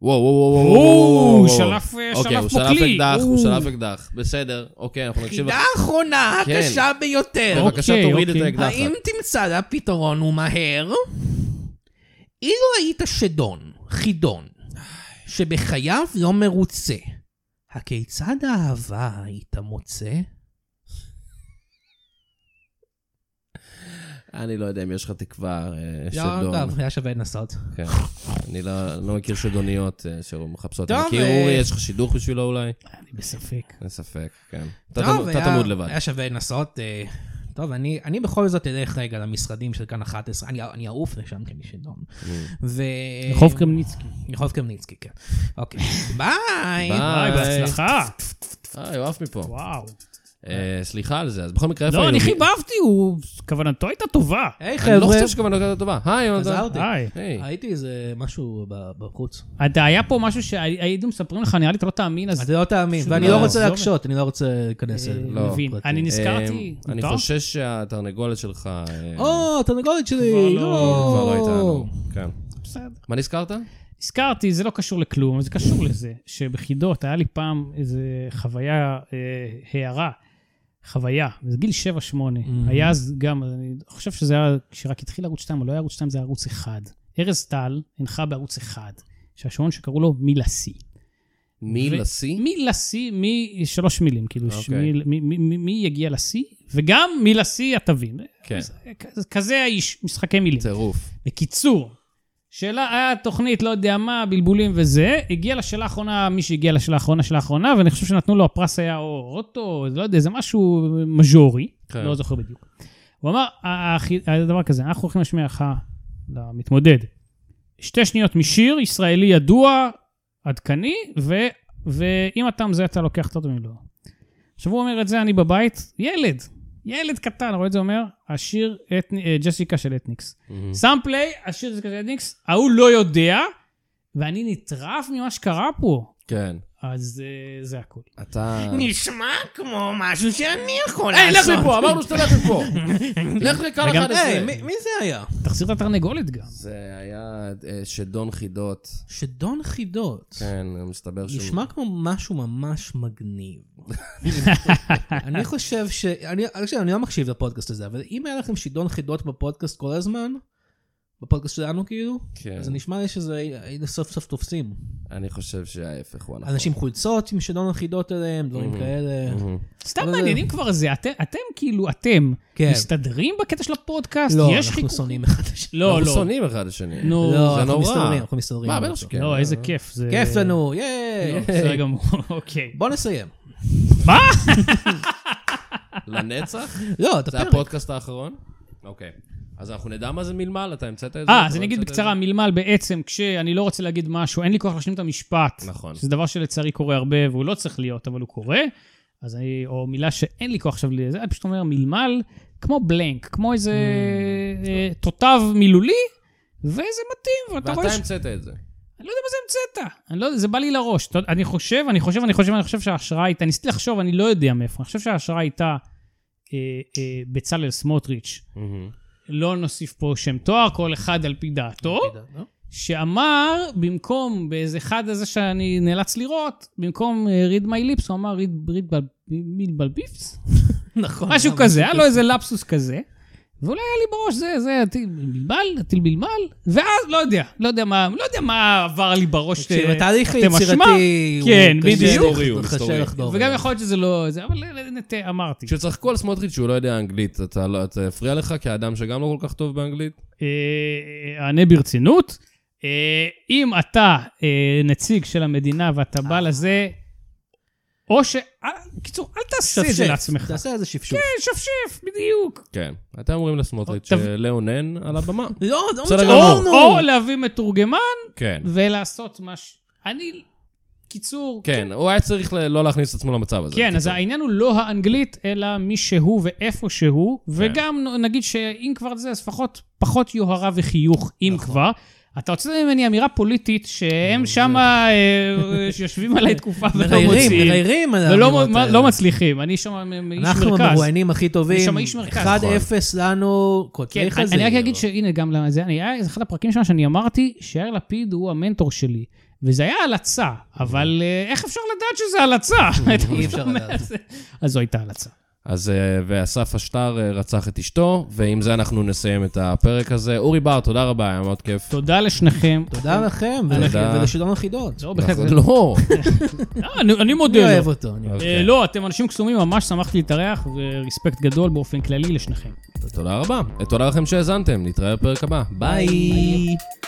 Speaker 2: וואו, וואו, וואו, וואו,
Speaker 4: או,
Speaker 2: וואו,
Speaker 4: הוא
Speaker 2: וואו.
Speaker 4: שלף, אה,
Speaker 2: אוקיי,
Speaker 4: שלף
Speaker 2: הוא
Speaker 4: פה
Speaker 2: שלף
Speaker 4: כלי.
Speaker 2: אקדח, הוא
Speaker 4: או.
Speaker 2: שלף אקדח. בסדר, אוקיי, אנחנו נקשיב
Speaker 3: חידה
Speaker 2: לך.
Speaker 3: אחרונה,
Speaker 2: כן.
Speaker 3: הקשה ביותר.
Speaker 2: בבקשה,
Speaker 4: אוקיי,
Speaker 2: תוריד את
Speaker 4: אוקיי.
Speaker 2: האקדח.
Speaker 3: האם תמצא לה פתרון ומהר? אילו היית שדון, חידון, שבחייו לא מרוצה, הכיצד האהבה היית מוצא?
Speaker 2: אני לא יודע אם יש לך תקווה אה,
Speaker 3: לא,
Speaker 2: שדון.
Speaker 3: טוב, היה שווה לנסות.
Speaker 2: כן. אני לא לא מכיר שדוניות אה, שמחפשות.
Speaker 3: טוב,
Speaker 2: אני מכיר,
Speaker 3: אה,
Speaker 2: אורי, יש לך שידוך בשבילו אולי?
Speaker 4: אני בספק.
Speaker 2: אין ספק, כן. אתה
Speaker 3: טוב,
Speaker 2: תמוד-
Speaker 3: היה-
Speaker 2: אתה תמוד לבד.
Speaker 3: היה שווה לנסות. אה, טוב, אני, אני בכל זאת אלך רגע למשרדים של כאן 11, אני, אני אעוף לשם כי אני שדון.
Speaker 2: Mm.
Speaker 3: ו...
Speaker 4: רחוב קרמניצקי.
Speaker 3: רחוב קרמניצקי, כן. אוקיי, ביי.
Speaker 4: וואי, בהצלחה.
Speaker 2: אה, הוא עף מפה.
Speaker 4: וואו.
Speaker 2: אה, סליחה על זה, אז בכל מקרה, איפה
Speaker 4: לא,
Speaker 2: היינו?
Speaker 4: אני חיבבתי, הוא... כוונתו הייתה טובה.
Speaker 3: היי
Speaker 2: אני לא
Speaker 3: חבר'ה,
Speaker 2: חושב שכוונות הייתה טובה. היי, יונתן.
Speaker 3: עזרתי.
Speaker 4: היי.
Speaker 2: היי. אה,
Speaker 3: הייתי איזה משהו ב- בחוץ.
Speaker 4: אתה היה פה משהו שהיינו מספרים לך, נראה לי אתה לא תאמין, אז
Speaker 3: אתה לא תאמין,
Speaker 4: שום
Speaker 3: ואני
Speaker 2: דבר.
Speaker 3: לא רוצה
Speaker 4: עזוב.
Speaker 3: להקשות, אני לא רוצה להיכנס
Speaker 4: אה,
Speaker 3: אליו.
Speaker 2: לא,
Speaker 4: מבין.
Speaker 3: פרטי.
Speaker 4: אני
Speaker 2: אמ,
Speaker 4: נזכרתי,
Speaker 2: אני
Speaker 4: מותר?
Speaker 2: חושב שהתרנגולת שלך... אה,
Speaker 3: או, התרנגולת שלי,
Speaker 4: כבר לא-
Speaker 2: כבר לא
Speaker 3: לא.
Speaker 2: איתנו. כן.
Speaker 4: בסדר.
Speaker 2: מה נזכרת?
Speaker 4: הזכרתי, זה לא קשור לכלום, אבל זה קשור לזה, שבחידות היה לי פעם איזו חוויה, אה, הערה, חוויה, זה גיל 7-8. היה אז גם, אני חושב שזה היה, כשרק התחיל ערוץ 2, או לא היה ערוץ 2, זה היה ערוץ 1. ארז טל הנחה בערוץ 1, שהשעון שקראו לו מילה C.
Speaker 2: מי
Speaker 4: ו-
Speaker 2: לשיא?
Speaker 4: מילה C משלוש מילים, כאילו, ש-
Speaker 2: אוקיי.
Speaker 4: מי- מי- מי- מי יגיע לשיא, וגם מילה C, אתה תבין.
Speaker 2: כן.
Speaker 4: אז כ- כזה האיש, משחקי מילים.
Speaker 2: טירוף.
Speaker 4: בקיצור, שאלה, היה תוכנית, לא יודע מה, בלבולים וזה, הגיע לשאלה האחרונה, מי שהגיע לשאלה האחרונה, שאלה האחרונה, ואני חושב שנתנו לו, הפרס היה או אוטו, או לא יודע, זה משהו מז'ורי,
Speaker 2: כן.
Speaker 4: לא זוכר בדיוק. הוא אמר, "ה- ה- היה דבר כזה, אנחנו הולכים להשמיע לך, למתמודד, שתי שניות משיר, ישראלי ידוע, עדכני, ו, ואם אתה מזהה, אתה לוקח את אותו מלואו. עכשיו הוא אומר את זה, אני בבית, ילד, ילד קטן, רואה את זה, אומר, השיר אתני, אה, ג'סיקה של אתניקס. שם פליי, השיר זה כזה ניקס, ההוא לא יודע, ואני נטרף ממה שקרה פה.
Speaker 2: כן.
Speaker 4: אז אה, זה הכול.
Speaker 2: אתה...
Speaker 6: נשמע כמו משהו שאני יכול
Speaker 2: היי, לך
Speaker 6: לעשות.
Speaker 2: מפה, אמרנו שאתה לך מפה. לך לכאן
Speaker 3: וגם,
Speaker 2: 11.
Speaker 3: היי, מי- מי זה היה?
Speaker 4: תחזיר את התרנגולת גם.
Speaker 2: זה היה אה, שדון חידות.
Speaker 3: שדון חידות.
Speaker 2: כן, מסתבר שהוא...
Speaker 3: נשמע כמו משהו ממש [LAUGHS] מגניב. אני חושב ש... אני, עכשיו, אני לא מקשיב לפודקאסט הזה, אבל אם היה לכם שידון חידות בפודקאסט כל הזמן, בפודקאסט שלנו כאילו,
Speaker 2: כן.
Speaker 3: אז זה נשמע לי שזה היינו סוף סוף תופסים.
Speaker 2: אני חושב שההפך הוא הנכון.
Speaker 3: אנשים חולצות עם שידון החידות עליהם, דברים כאלה.
Speaker 2: מהמם.
Speaker 4: סתם
Speaker 3: אבל זה-
Speaker 4: מעניינים כבר זה, אתם- אתם כאילו, אתם,
Speaker 3: כן.
Speaker 4: מסתדרים בקטע של הפודקאסט?
Speaker 3: לא,
Speaker 4: יש
Speaker 3: אנחנו
Speaker 4: חיכוך-
Speaker 3: שונאים אחד את השני.
Speaker 4: לא,
Speaker 2: אנחנו
Speaker 4: לא.
Speaker 2: שונאים אחד את השני.
Speaker 4: נו,
Speaker 3: לא,
Speaker 2: זה
Speaker 3: אנחנו
Speaker 2: נורא.
Speaker 3: מסתדרים, אנחנו מסתדרים.
Speaker 2: מה, בטח
Speaker 3: בסוף.
Speaker 2: שכן.
Speaker 4: לא, איזה כיף. זה-
Speaker 3: כיף לנו,
Speaker 4: לא,
Speaker 3: ייי.
Speaker 4: בסדר גמור, [LAUGHS] אוקיי.
Speaker 3: בוא נסיים.
Speaker 2: לנצח?
Speaker 3: לא, את
Speaker 2: זה
Speaker 3: הפרק.
Speaker 2: הפודקאסט האחרון? אוקיי. אז אנחנו נדע מה זה מלמל, אתה המצאת את זה?
Speaker 4: אה,
Speaker 2: אתה
Speaker 4: אז
Speaker 2: לא
Speaker 4: אני אגיד
Speaker 2: המצאת את זה?
Speaker 4: בקצרה, מלמל בעצם, כשאני לא רוצה להגיד משהו, אין לי כוח להשלים את המשפט.
Speaker 2: נכון.
Speaker 4: שזה דבר שלצערי קורה הרבה, והוא לא צריך להיות, אבל הוא קורה. אז אני, או מילה שאין לי כוח עכשיו לזה, אני פשוט אומר מלמל, כמו בלנק, כמו איזה אה, תותב מילולי, וזה מתאים, ואתה
Speaker 2: ואתה
Speaker 4: רואה ש...
Speaker 2: המצאת את זה.
Speaker 4: אני לא יודע מה זה המצאת. אני לא יודע, זה בא לי לראש. אתה יודע, אני חושב, אני חושב, אני חושב, אני חושב שההשראה הייתה, ניסיתי לחשוב, אני לא יודע מאיפה, אני חושב שההשראה הייתה אה, אה, בצלאל סמוטריץ'.
Speaker 2: מהמם.
Speaker 4: לא נוסיף פה שם תואר, כל אחד על פי דעתו,
Speaker 3: לא?
Speaker 4: שאמר, במקום, באיזה אחד הזה שאני נאלץ לראות, במקום אה, read my lips, הוא אמר read, read בל- mil בל ביפס,
Speaker 3: נכון.
Speaker 4: משהו כזה, היה לו איזה לפסוס כזה, ואולי היה לי בראש, זה, זה, הטיל בלבל, הטיל בלבל, ואז לא יודע, לא יודע מה, לא יודע מה עבר לי בראש,
Speaker 3: תקשיב,
Speaker 4: אה,
Speaker 3: התהליך
Speaker 4: תרתי משמע.
Speaker 3: היצירתי, הוא
Speaker 4: כן,
Speaker 3: קשה
Speaker 4: בדיוק.
Speaker 2: היסטורי, הוא
Speaker 3: לחדור-
Speaker 2: היסטורי.
Speaker 3: קשה לחדור.
Speaker 4: וגם יכול להיות שזה לא, זה, אבל אה, נת- אמרתי.
Speaker 2: כשצחקו על סמוטריץ' שהוא לא יודע אנגלית, אתה לא- אתה הפריע לך כאדם שגם לא כל כך טוב באנגלית?
Speaker 4: אה, אענה ברצינות. אה, אם אתה אה, נציג של המדינה ואתה
Speaker 3: אה.
Speaker 4: בא לזה, או ש... אל- קיצור, אל תעשה את זה
Speaker 3: שפשף,
Speaker 4: לעצמך.
Speaker 3: תעשה איזה שפשוף.
Speaker 4: כן, שפשף, בדיוק.
Speaker 2: כן. אתם אומרים לסמוטריץ'
Speaker 4: טוב.
Speaker 2: שלאונן על הבמה.
Speaker 3: לא, לא
Speaker 2: בסדר
Speaker 4: או,
Speaker 2: גמור.
Speaker 4: או להביא מתורגמן
Speaker 2: [LAUGHS] כן.
Speaker 4: ולעשות משהו. אני... קיצור...
Speaker 2: כן, הוא היה צריך ל- לא להכניס את עצמו למצב הזה.
Speaker 4: כן, אז
Speaker 2: קיצור.
Speaker 4: העניין הוא לא האנגלית, אלא מי שהוא ואיפה שהוא,
Speaker 3: כן.
Speaker 4: וגם נגיד שאם כבר זה, אז לפחות פחות יוהרה וחיוך, אם
Speaker 3: נכון.
Speaker 4: כבר. אתה רוצה ממני אמירה פוליטית שהם שם שיושבים עליי תקופה ולא
Speaker 3: מראיירים,
Speaker 4: מוציאים,
Speaker 3: מראיירים על
Speaker 4: ולא
Speaker 3: האמירות
Speaker 4: מ-
Speaker 3: האלה.
Speaker 4: לא מצליחים. אני שם מ- איש
Speaker 3: אה. אנחנו
Speaker 4: מרכז.
Speaker 3: המרואיינים הכי
Speaker 4: אני
Speaker 3: טובים.
Speaker 4: שם איש מרכז.
Speaker 3: 1-0
Speaker 2: נכון.
Speaker 3: לנו,
Speaker 4: כן,
Speaker 3: קוטלי
Speaker 4: אני
Speaker 3: חזיר.
Speaker 4: אני רק אגיד שהנה גם למה זה, אני- היה זה אחד הפרקים שם שאני אמרתי שיאיר לפיד הוא המנטור שלי, וזה היה הלצה,
Speaker 3: כן.
Speaker 4: אבל אה, איך אפשר לדעת שזה הלצה? אתה
Speaker 3: אוקיי, אי אפשר
Speaker 4: אומר,
Speaker 3: לדעת.
Speaker 4: זה- [LAUGHS] אז זו הייתה הלצה.
Speaker 2: אז אה, ואסף אשתר אה, רצח את אשתו, ועם זה אנחנו נסיים את הפרק הזה. אורי בר, תודה רבה, היה מאוד כיף.
Speaker 4: תודה לשניכם.
Speaker 3: תודה לכם, ו-
Speaker 2: תודה.
Speaker 3: ולשלום החידות.
Speaker 4: לא, בהחלט.
Speaker 2: אנחנו- לא.
Speaker 4: לא, אני- אני
Speaker 3: אני
Speaker 4: מודה
Speaker 3: אוהב כן.
Speaker 4: לו.
Speaker 3: אותו. אני אוהב.
Speaker 4: [LAUGHS] אה,
Speaker 2: אוקיי.
Speaker 4: לא, אתם אנשים קסומים, ממש שמחתי להתארח, ורספקט גדול באופן כללי לשניכם.
Speaker 2: אה, תודה רבה. תודה לכם שהאזנתם, נתראה בפרק הבא. ביי.
Speaker 3: ביי.